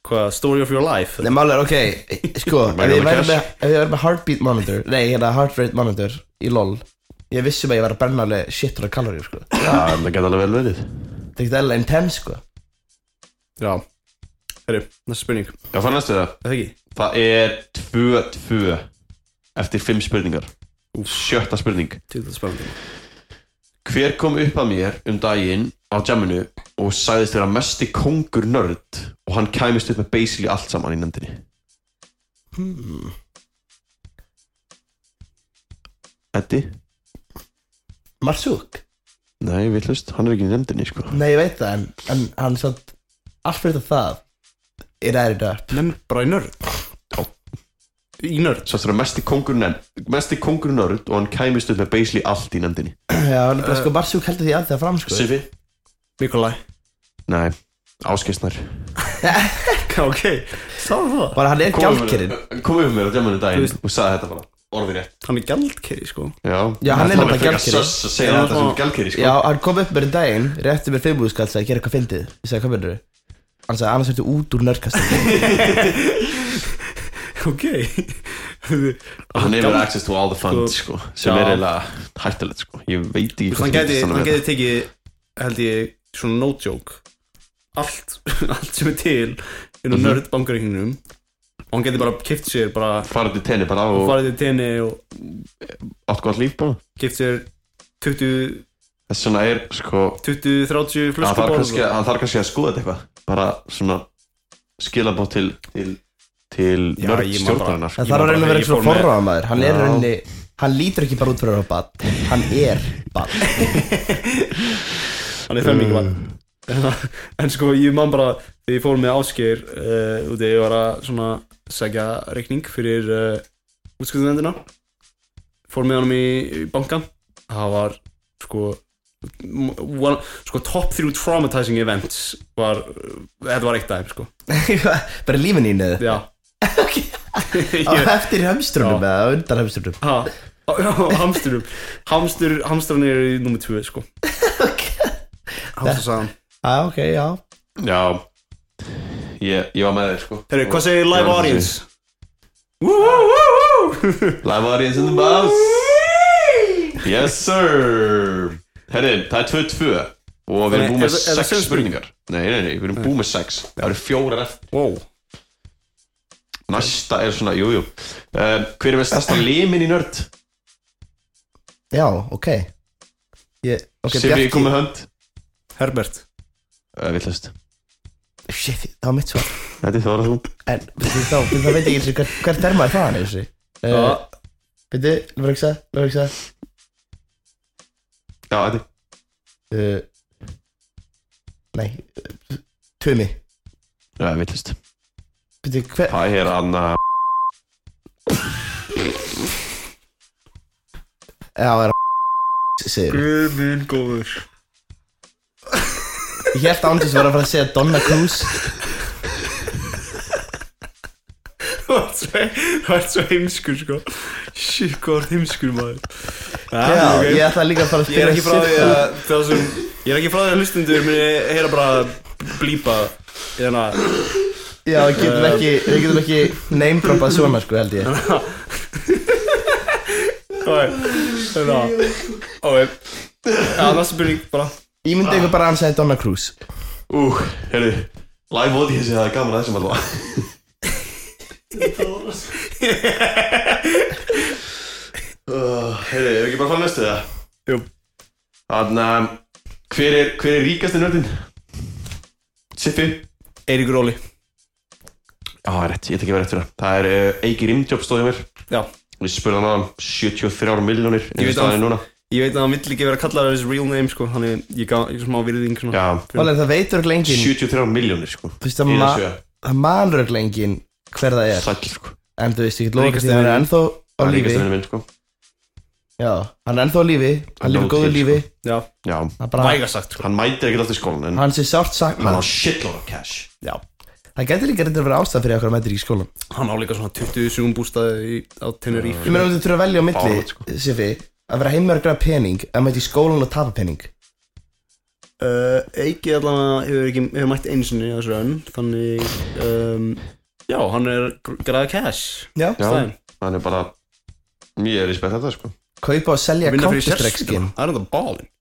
A: Hvað, story of your life?
B: Nei, málega, ok, sko, ef
D: Væri
B: ég
D: það
B: væri
D: cash?
B: með, ef ég væri með heartbeat monitor, nei, hérna heart rate monitor í lol, ég vissum að ég var að brenna alveg 700 kaloríur, sko. Það
D: já, en það geta alveg vel verið
B: er ekkert eðlilega intense, sko.
A: Já Herru, næsta spurning, er
D: já, það næstu það,
A: það ekki?
D: það er 2-2 eftir 5 spurningar sjötta spurning
A: Tjóðlega spennandi
D: hver kom upp að mér um daginn á jamminu og sagðist vera mesti kongur nörd og hann kæmist upp með basically allt saman í nefndinni Hmm. Eddi?
B: Marsúk.
D: Nei, villust, hann er ekki í nefndinni sko
B: Nei, ég veit það, en, en hann satt allt fyrir það er aðrið upp.
A: Nefn bara í nörd
D: Já.
A: Í nörd
D: Svo þetta er mesti kongur, nefnd, mesti kongur nörd og hann kæmist upp með basically allt í nefndinni
B: Já, hann er bara, sko, Marsúk heldur því alltaf fram, sko.
D: Sifi?
A: Nikolai
D: Nei, áskistnar
A: Ok, sá það
B: Bara hann er gjaldkerinn.
D: Kom upp með mér á jamminu um
A: Þú
D: daginn
A: veist-
D: og sagði þetta bara, orðið rétt
A: Hann er gjaldkeri sko
D: Já,
B: Já, hann er
D: Það
B: nefnilega
D: frekar
B: gjaldkeri.
D: söss að segja
A: Já,
D: þetta sem
A: og-
D: gælkeri sko
B: Já, hann kom upp með einn daginn, rétti mér fimmúðskall, sagði, gera eitthvað fyndið. Ég sagði, hvað verður þau? Hann sagði, annars ertu út úr nörgkastum.
A: Ok
D: hann
A: Hann
D: hefur access to all the funds sko, sem
A: Já.
D: er eiginlega hættilegt sko. ég veit ekki
A: Hann gæti,
D: hann
A: hann
D: að
A: gæti tekið, held ég, svona no joke Allt, allt sem er til Inn á
D: Mhm.
A: nörd bankaríkningnum Og hann gæti bara kipt sér bara
D: fara til tenni bara og
A: farið til tenni og
D: átt gott líf bara
A: gift sér 20,
D: þess vegna er sko
A: 20 30
D: hann
A: flösku
D: þarf,
A: borð
D: kannski, hann þarf kannski að skoða þetta eitthvað bara svona skilabótt til til, til
A: Já,
D: nörd
A: ég man
D: stjórnarinnar
B: En það er að reyna að vera
A: Ég
B: eins
A: fór
B: og
A: með-
B: forraða maður. Hann er
D: Já.
B: reyni, hann lítur ekki bara út fyrir að vera bann. Hann er bann.
A: hann er það mikið vann en sko ég man bara þegar ég fór með Ásgeir uh, út að ég var að svona segja reikning fyrir uh, útskuðunendina fór með honum í, í bankan það var sko m- one, sko top 3 traumatizing events var uh, þetta var eitt dæmi sko
B: bara lífin í neðu.
A: já
B: Á
A: ég,
B: eftir hamstrunum eða á undan hamstrunum.
A: Ha, á- á hamsturum Hamstur, hamsturinn eru í nummer 2 sko Hamstur sagðan
B: Já, ok, já.
D: já ég, ég var með þér sko
A: Herru, hvað segir
D: Ég
A: live
D: var að
A: audience? Woo, woo, woo, woo
D: live audience in the house yes sir herri, það er 2-2 og við erum
A: Nei,
D: búin
A: er
D: með
A: það- er það
D: 6
A: sömu
D: spurningar nei, nei, nei, við erum búin með 6 það eru fjórar eftir
A: Wow
D: Næsta er svona, jújú jú. um, Hver er með stærsta limin í nörd?
B: Já, ok. Ég, ok,
D: Okay, Sifi kom með hönd
A: Herbert
D: uh, Villast
B: Shit, það var mitt svar.
D: Þetta er þóra þú
B: En byrju, þá, byrju, þá veit ég ekki hver, hver termaði það hann eins og
A: Já,
B: uh, Byrju, lofur ekki það, lofur ekki það
D: Já, þetta er
B: uh, Nei Tumi
D: Já, villist
B: Býttu, hver
D: Það er hann að
B: Já, er Sigur
A: Guðminn góður
B: Ég held að Andrés var að fara að segja Donna Cruz
A: Þú ert svo- þú ert svo heimskur sko Shit, hvað ert heimskur maður Já,
B: Já,
A: ok.
B: ég ætla líka að fara að
A: Ég er ekki
B: spyrja
A: frá því að það sem Ég er ekki frá því að hlustundur muni heyra bara blípa hérna. í þennan
B: Já, við getum ekki, við getum ekki name-droppað svona, sko, held ég
A: Þannig að Ok Já, næsta spurning bara
B: Ég myndi ykkur bara að hann segja Donna Cruz
D: Ú, heyrðu Live audience, það er gaman að þessum alltaf uh, Heyrðu, erum við ekki bara að fara næstu það?
A: Jú.
D: Þannig að hver er, hver er ríkasti nördin? Sippi
A: Eiríkur Óli
D: Já, það er rétt, ég ætla ekki að vera rétt fyrir það Það er uh, Eiki Rimjob stóðið mér
A: Já
D: Við spurðum hann á 73 miljónir
A: Ég veit að-
D: hann núna
A: Ég veit að hann vill ekki vera kallaður þessi real name sko Þannig ég gaf ég smá virðing svona
D: Já,
B: Valega, það veitur ekki engin
D: 73 miljónir sko
B: Þú veist, það
D: Í
B: ma-
D: þessu,
B: það malur ekki engin hver það er
D: Sæll sko
B: En þú veist, ég get lofa
A: Ríkasti
B: því að hann er
A: vinurinn.
B: ennþá á
D: Það er
B: lífi
D: ríkasti vinur minn sko
B: Já, hann er ennþá á lífi, hann
D: Hann
B: lifir
D: á
B: góðu
D: til,
B: lífi
A: Já,
D: Já,
B: Það er bara,
A: vægasagt sko
D: hann mætir ekkert alltaf í skólan En
B: hann sé sárt
D: hann á
B: saknað
D: shitload of cash
B: Já, það getur líka reyndar að vera ástæð fyrir okkur að mæta ekki í skólan
A: Hann á líka svona 27 bústaði í- á Tenerife
B: Ég meina þú þurfa að velja á milli,
D: Fáránlegt, sko.
B: Sifi Að vera heimur að græða pening, að mæta í skólan og tapa pening
A: Uh, Eiki allavega hefur, ekki, hefur mætt einu sinni á þessu önn Þannig um, Já, hann er gr- græða cash
B: Já,
D: Já,
A: Stæðin
D: hann er bara Ég er í spætt þetta sko
B: kaupa og selja
A: Vinna fyrir
B: Counter-Strike skin
A: sérsvíkina Það er þetta bálin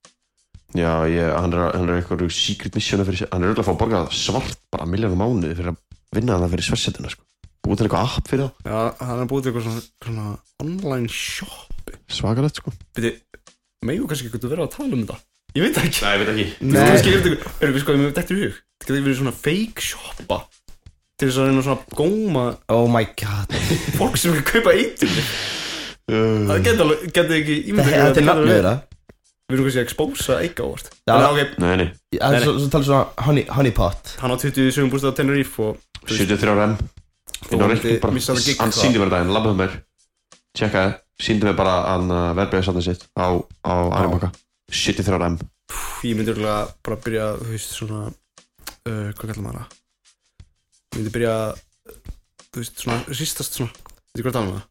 D: Já, ég, hann er, hann er eitthvað secret mission fyrir, sér- Hann er auðvitað að fá að borga svart bara miljónum mánuði fyrir að vinna það fyrir sversetina sko Búið til eitthvað app fyrir það
A: Já, hann er búið til eitthvað svona, svona online shop
D: Svakalegt sko
A: Viti, megu kannski eitthvað vera að tala um þetta Ég veit það ekki
D: Nei, ég veit ekki
A: Þú veist, kannski er
B: Nei,
A: þetta Er eitthvað sko, ég með þetta í hug Þetta getur verið svona fake shoppa Til þess að reyna svona að góma
B: oh my god
A: Fólk sem er að kaupa eitur Það geta alveg, geta ekki ímyndað ykkur að
B: Þetta er
A: geta
B: nafnið
A: verið.
B: þeirra
A: Við erum kannski að expósa eika ávart
B: Já.
A: En ok,
D: Nei, nei,
A: Nei,
B: Það er
A: nei.
B: svo svo talað svona honey, honeypot
A: hann á 27 bústað á Tenerife og
D: 73 M Inn á
A: Þú
D: reikning
A: myndi
D: bara
A: missa það gig, sko.
D: Hann
A: hvað?
D: síndi mér daginn, labbaði mér Tjekkaði, síndi mér bara hann verðbæði sattin sitt á, á Arimbaka 73 M
A: Pff, ég myndi örgulega bara að byrja þú veist svona uh, hvað kallar maður það ég myndi byrja uh, þú veist svona rýstast svona veitir hvað það er um það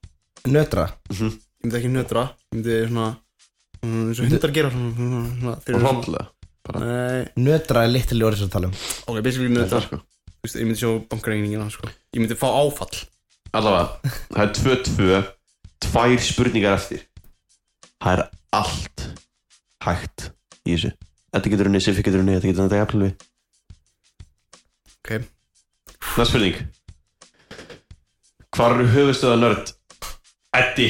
B: Nötra
A: ég myndi ekki nötra ég myndi svona mm, eins og hundar gera svona, svona, svona
D: Og
A: þeir eru svona
D: hróndlega
A: nei
B: Nötra er litli orðið sem að tala um
A: ok basically nötra
D: Þetta sko
A: þú veist ég myndi sjá bankareiningina sko ég myndi fá áfall
D: Allavega, það er 2-2 Tvær spurningar eftir Það er allt Hægt í þessu Þetta getur unni, Sifi getur unni, þetta getur unni Þetta er jafnlega
A: ok ég
D: Næst spurning Hvar eru höfustöða nörd? Eddi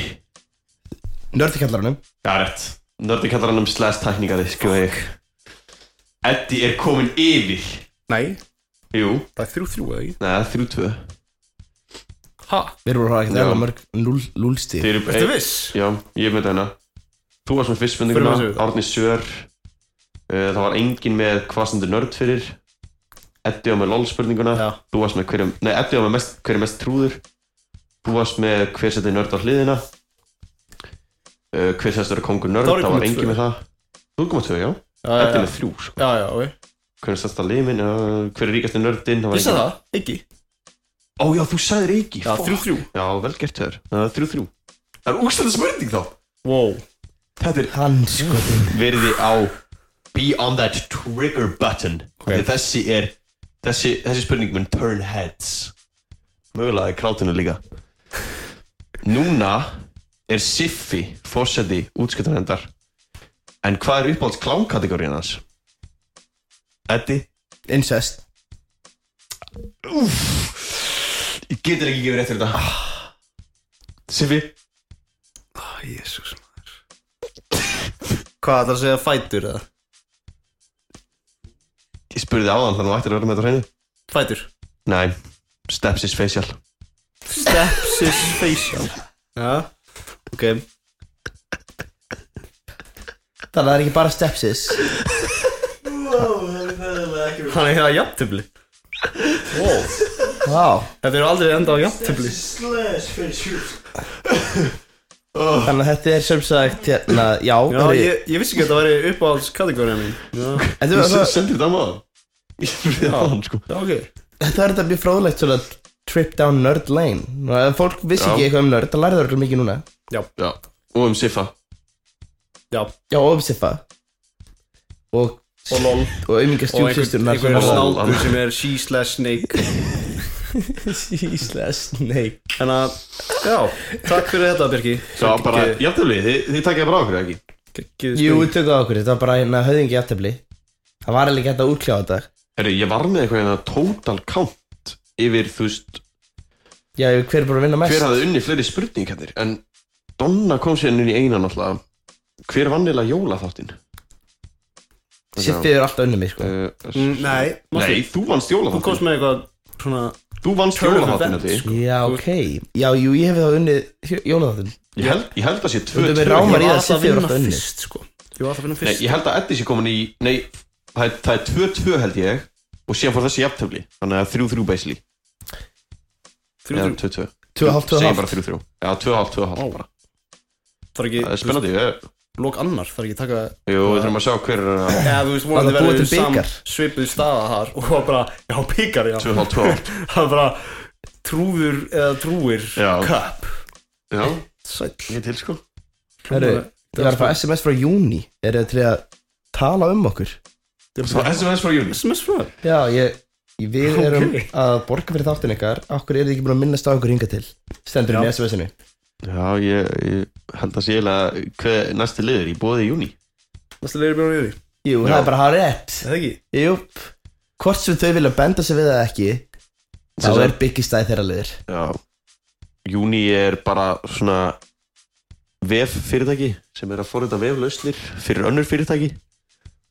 B: Nördi kallar hann um
D: Já, rétt Nördi kallar hann um slags tækningari, skrifa ég Eddi er komin yfir
A: nei
D: Jú,
A: það er þrjú þrjú eða ekki
D: neða, þrjú tvö
A: ha
B: Við erum að hafa ekkert
D: Já.
B: eða mörg núl- núlstig
D: Þeir eru
A: ertu viss
D: Já, ég með þetta hérna. Þú varst með fyrst spurninguna,
A: Förum við þessu.
D: Árni Sör uh, Það var engin með hvað stendur nörd fyrir Eddi var með LOL spurninguna
A: já
D: Þú varst með hverjum, nei Eddi var með mest, hver er mest trúður Þú varst með hver setur nörd á hliðina uh, Hver setur vera kongur nörd
A: Þá er ég
D: Það
A: kominn
D: var
A: með
D: engin
A: tvö.
D: með það Þú komað tvö, já,
A: já
D: Eddi
A: já,
D: með þrjú sko.
A: já já ok
D: Hver er stærsta limin, uh, hver er ríkasti nördin
A: ég sagði það ekki
D: Ó já, þú sagðir ekki
A: já þrjú þrjú
D: já vel gert þér, það er þrjú þrjú Það er úrstæðan spurning þá
A: wow
D: Þetta er
B: Hann sko
D: verði á Be on that trigger button okay. Þessi er þessi, þessi spurning mun turn heads Mögulega er krátinu líka Núna er Siffi fórseti útskiptunendar En hvað er uppáhalds klánkategóriðan hans? Eddi?
B: Incest
D: Ég getur ekki gefið rétt fyrir þetta Siffi?
A: Jésús maður Hvað ætlar að segja fætur eða?
D: Ég spurði áðan þannig að þú ættir að vera með þetta á hreinu
A: Fætur
D: Nei, Steps is facial
A: Stepsis facial Já, ok
B: Þannig að það er ekki bara stepsis
E: wow, það er meðalega ekki verið
A: Hann er hérna jafntöfli wow.
B: Vá,
A: Þetta eru aldrei enda á jafntöfli
E: Þessi slash fyrir sjúk
B: þannig að þetta er sem sagt hérna, já,
A: Já,
B: herri,
A: ég, ég vissi ekki að þetta væri uppáhalds kategórið mín Já,
B: en þú-
D: Ég
B: það-
D: se- sendi þetta á maður Ég spurði það á hann sko
A: Já, ok
B: Þetta er þetta mjög fróðlegt svona trip down nerd lane Nú, ef fólk vissi
D: Já.
B: ekki eitthvað um nerd, það lærið það örugglega mikið núna
D: Já, og um Siffa
A: Já,
B: Já, og um siffa og,
A: og lol
B: og aumingar
A: Og einhver,
B: stjúpsýsturnar
A: einhver
D: svona-
A: snákur sem er she slash snake
B: Íslega snake
A: Þannig að, já, takk fyrir þetta Birki
D: Já, bara, jafnveg, þið, þið takja bara á okkur, ekki?
A: Gekkið
B: Jú, við tökum á okkur, þetta var bara hérna höfðingi jafntefli Það var alveg gæta að útkljá þetta
D: Herru, ég var með eitthvað hérna total count yfir, þú veist,
B: Já, hver er búin að vinna mest?
D: hver hafði unni fleiri spurningarnir en Donna kom sér inn í einan alltaf Hver vann eða jólaþáttinn?
B: Siffi er alltaf unni mig, sko
D: Uh,
A: Mm, Nei,
D: Nei,
A: Matti,
D: þú vannst
A: þú komst
D: jólaþáttinn
A: með eitthvað svona
D: Þú vannst
A: Turn of
D: jólaþáttinn
A: events,
D: því
A: sko.
B: Já, ok Já, jú, ég hef þá unnið jólaðatum
D: ég held, ég held að sé tvö
B: Þú ert með
D: tvö.
B: rám- Ómar,
A: Ég
B: ég
A: var
B: að
A: alltaf að
B: Siffi er
A: vinna
B: alltaf unni.
A: fyrst, sko Ég var alltaf að vinna
D: Nei,
A: fyrst
D: ég held að Eddi sé komin í Nei, það er, það er tvö tvö held ég Og síðan fór þessi jafntöfli Þannig að þrjú þrjú basically
A: Þrjú,
D: Eða
A: þrjú,
D: tvö tvö
B: Tvö og hálft, tvö og
D: Segjum
B: hálft
D: bara þrjú þrjú Já, tvö og hálft, tvö og hálft bara
A: þarf
D: Það er
A: ekki,
D: spennandi ég-
A: lók annar, þarf ekki taka
D: Jú, við þurfum að sjá hver er uh, að
A: Já, þú veist,
B: Var
A: vonandi
B: það búið
A: verður
B: til
A: sam
B: bikar?
A: svipuð staða þar og var bara, já, byggar, já
D: Tvö og hálft, tvö og hálft
A: Það er bara trúður eða trúir
D: Já.
A: cup
D: Já,
A: Sæll
D: ég til sko
B: Herru, Ég var að fá SMS frá Júni Er það til að tala um okkur?
D: Svo SMS frá Júli
A: SMS frá þér?
B: Já, ég, ég- við
A: Ok.
B: erum að borga fyrir þáttin ykkar Akkur eru þið ekki búin að minnast á okkur hinga til Stendur
A: Já.
B: í SMS-inu
D: Já, ég, ég held að sé eiginlega Hver næsti liður í bóði í júni
A: Næsta leiður björnum yfir
B: Jú,
D: Já.
B: það er bara hár rétt
A: Það ekki?
B: Jú, hvort sem þau vilja benda sig við það ekki Þá
D: Sem sagt-
B: er byggistæð þeirra liður
D: Já Júni er bara svona vef fyrirtæki sem er að forrita veflausnir fyrir önnur fyrirtæki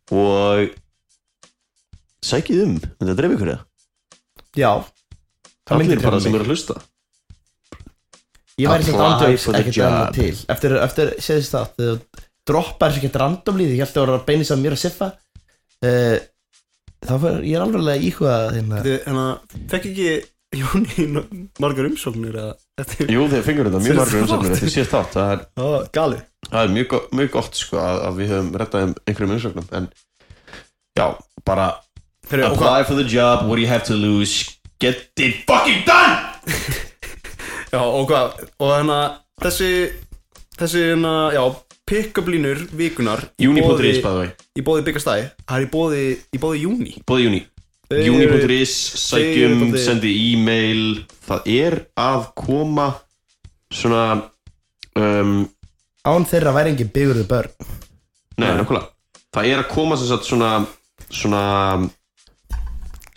D: og sækið um en það dreif ykkur eða
B: Já, það myndi
D: allir bara
B: drefa
D: sem
B: mig.
D: eru að hlusta
B: Ég væri sem
D: Apply
B: andjóks
D: for the
B: ekkert annað
D: job.
B: til Eftir, eftir séðist það Þegar þú droppar þessu ekkert random líð Ég held að það voru að beina sem mér að siffa uh, Þá fyrir, ég er alveg að íhuga hérna.
A: Þið, hérna, fekk ekki Jóni n- margar umsóknir eða Þetta er
D: Jú þeir fengur þetta mjög
A: Fyrir
D: margur
A: þátt.
D: umsöknir þetta síðast þátt það er,
A: Já, galið
D: það er mjög, go- mjög gott sko að, að við höfum rettað um einhverjum umsöknum en já bara
A: Fyrir, og hvað?
D: apply for the job, what do you have to lose get it fucking done
A: Já, og hvað? Og hérna, þessi Þessi, hérna, já, pick-up línur vikunar í
D: juni.is
A: boði-
D: by the way
A: Í bóði byggastæði Það er í bóði, í bóði júni
D: bóði júni Juni.is, sækjum,
A: þeir-
D: sendi e-mail Það er að koma svona um,
B: Án þeirra væri engin byggurðu börn
D: Nei, nákvæmlega Það er að koma sem sagt svona svona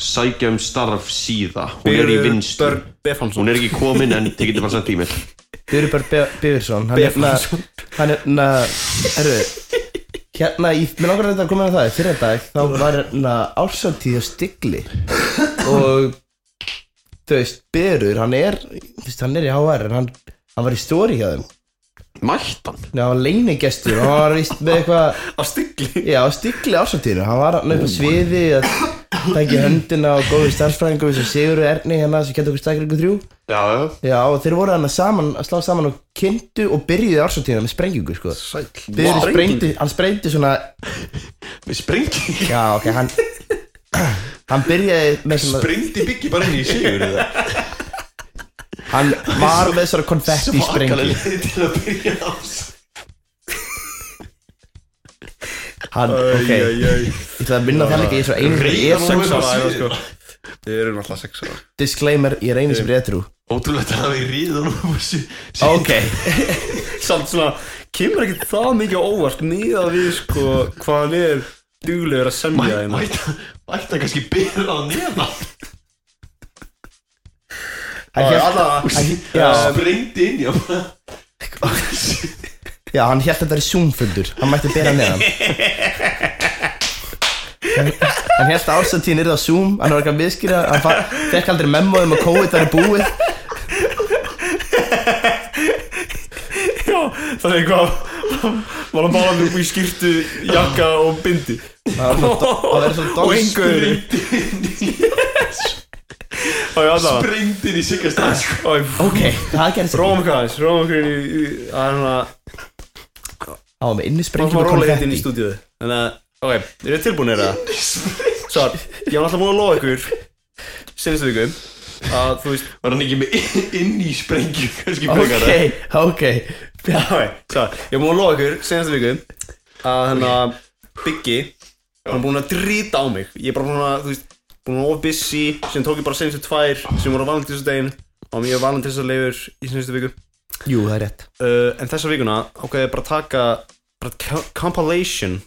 D: sækjum starf síða Hún er í vinstu
A: Börn Befansson
D: Hún er ekki komin en þið getur bara sendt e-mail
B: Byggurðu börn Byggursson Hann er hérna
A: Befansson
B: Hann er hérna Herru Hérna, ég, mér langar þetta að koma með það Fyrir dag, þá var hérna ársöldtíð á stigli Og Þú veist, Byrur, hann er þú veist, Hann er í HR En hann, hann var í stóri hjá þeim
D: Mættan
B: Nei, hann var leinigestur og hann var vist með eitthvað
A: Á stigli
B: Já, stikli ársáttíðinu, hann var hann upp á sviði að tækja höndina og góði starfsfræðingur sem Sigurður Erni hérna sem getur okkur stakringu þrjú
D: Já, já
B: Já, og þeir voru hann að saman, að slá saman og kynntu og byrjuði ársáttíðina með sprengingu, sko
A: Sæll
B: Þeir wow. sprengdi, hann sprengdi svona,
D: Við sprengi
B: já, ok, hann Hann byrjaði með svona,
D: Sprengdi byggi bara inn í sigur eða?
B: hann var með svona konfetti
D: Svakalega
B: sprengi
D: leið til að byrja á
B: Hann, ok,
A: Æ,
B: ég
A: æ, æ.
B: ætla að minna það líka, ég er svo einu ég er
D: Reyðan
B: svo,
A: Sex ára
D: Sex
A: æfa,
D: ára.
A: sko Þið eru náttúrulega sex ára
B: disclaimer, ég er einu sem er etrú
D: Ótrúlegt að hafa í ríðan
B: Ok,
A: Samt svona, kemur ekki það mikið á óvart Nýða við, sko, hvað hann er Duglegur að semja hérna? þeim
D: Mætta, mætta kannski byrja á neðan
B: hann hélt Já.
D: Sprengdi inn já
B: Já, hann held að þetta er Zoom-fundur Hann mætti bera neðan Hann held að ársættíðin yrði á Zoom Hann var ekki að viðskýra Hann fa- fekk aldrei memóið um að COVID væri búið
A: Já, það er eitthvað var að mála mig upp í skýrtu, jakka og bindi
B: Það var svona- það er svona
A: og
B: dogst
A: engaður og ég aðna
D: Breyndin í Sigastans
A: sko.
B: Ok, það gerði sér
A: Róum okkur aðeins, róum okkur í, í það er svona
B: Það var með inni
A: Það
B: sprengjum
A: var
B: og
A: rólega hitt inn í
B: konfetti
A: stúdíu Þannig að, ok, eru þið tilbúinir það? Svar, ég var alltaf múin að lofa ykkur Sinnistu vikum Að þú veist,
D: Var hann ekki með inn- inn í sprengju kannski frekar,
B: Ok,
D: eða?
B: ok
A: ok, svar Ég var múin að lofa ykkur, sinnistu vikum Að þannig að Biggi Hann er búin að drýta á mig Ég er bara búin að, þú veist Búin að of busy Sem tók ég bara sinnistu tvær Sem voru á valentínsdegin Og mér valentínsdegleifur í sinnistu viku
B: Jú, það er rétt
A: uh, En þessa vikuna ákveði ég bara að taka Bara co- compilation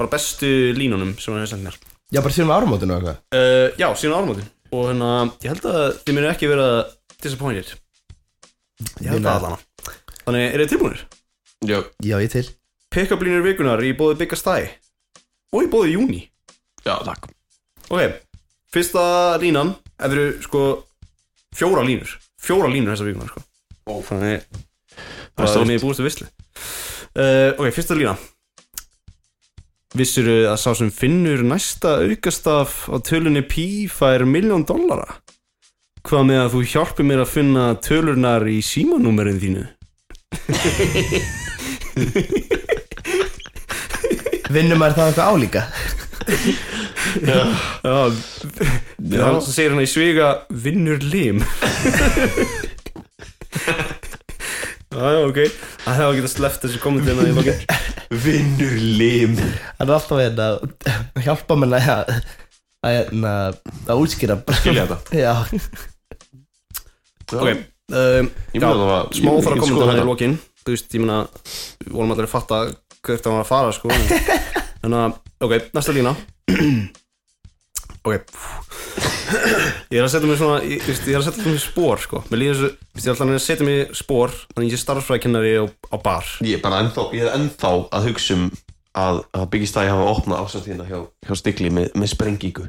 A: Bara bestu línunum sem hann hefði sendt mér
B: Já, bara síðan við áramótinu og eitthvað
A: Uh, já, síðan ármótin Og hérna, ég held að þið munu ekki vera disappointed Ég held
B: Nei.
A: að það Þannig, eru þið tilbúinir?
D: Já,
B: Já, ég til
A: Pick-up línur vikunar í bóði Bigga Stæ Og í bóði Júni
D: já, takk
A: Ok, fyrsta línan Ef eru, sko, fjóra línur Fjóra línur þessa vikunar, sko Ó, Þannig,
D: Það er
A: það
D: stórt.
A: er mér búist að visli uh, Ok, fyrsta lína Vissirðu að sá sem finnur næsta aukastaf á tölunni P fær miljón dollara? Hvað með að þú hjálpir mér að finna tölurnar í símanúmerin þínu?
B: Vinnum maður það eitthvað álíka?
A: Já, hann sem segir hann í sviga vinnur lim Já, já, ok Það hefði að geta sleppt þessu kommentina í lokin
D: Vinnur lim
B: Hann er alltaf hérna að hjálpa mér að að, hérna, að útskýra
D: Skilja þetta
B: Já,
A: Ok um,
D: Ég meina það var ég-
A: Smá þarf að
D: ég
A: kommenta
D: skoða
A: hann í
D: þetta.
A: lokin Þú veist, ég meina Við vorum allir að fatta hvert það var að fara, sko Þannig að, ok, næsta lína Ok Ég er að setja mig svona Ég, þú veist, ég er að setja mig í spór, sko Mér líður þessu, þú veist, ég er alltaf að reyna að setja mig í spór Þannig ég er starffræðkennari á, á bar
D: Ég er bara ennþá, ég er ennþá að hugsa um að, að byggistæði hafa opnað ásatíðina hjá, hjá Stigli með, með sprengingu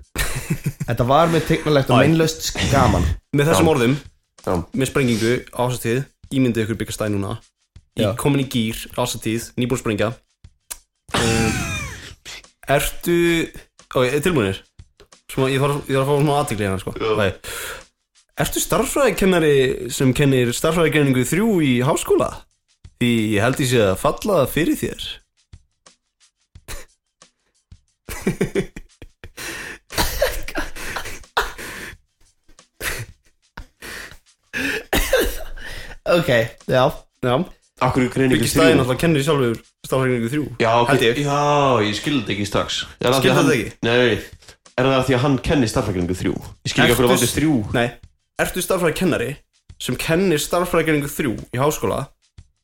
B: þetta var með tegnalegt og meinlaust skaman
A: Með þessum orðum,
D: Já.
A: með sprengingu, ásatið, ímyndið ykkur byggja stæð núna Í
B: Já.
A: komin í gýr, ásatið, nýbúin að sprengja um, Ertu, ok, er tilbúinir? Svona, ég þarf, ég þarf að fá svona aðtikli hérna, sko Nei. Ertu starffræðikennari sem kennir starffræðikenningu þrjú í háskóla? Því ég held ég sé að falla fyrir þér
B: Ok, já
A: Já,
D: Akkur er greiningu
A: byggja stæðin alltaf kennir sjálfur starffræðikenningu þrjú
D: Já, ok,
A: Held ég.
D: já, ég skilði þetta ekki strax Er það af því
A: Skildir
D: að
A: þetta
D: hann-
A: ekki?
D: Nei, er það af því að hann kenni starfrækningu þrjú Ég skil ekki af hverju
A: Ertu-
D: valdið þrjú
A: Nei, ertu starfræðikennari sem kennir starfræðikenningu þrjú í háskóla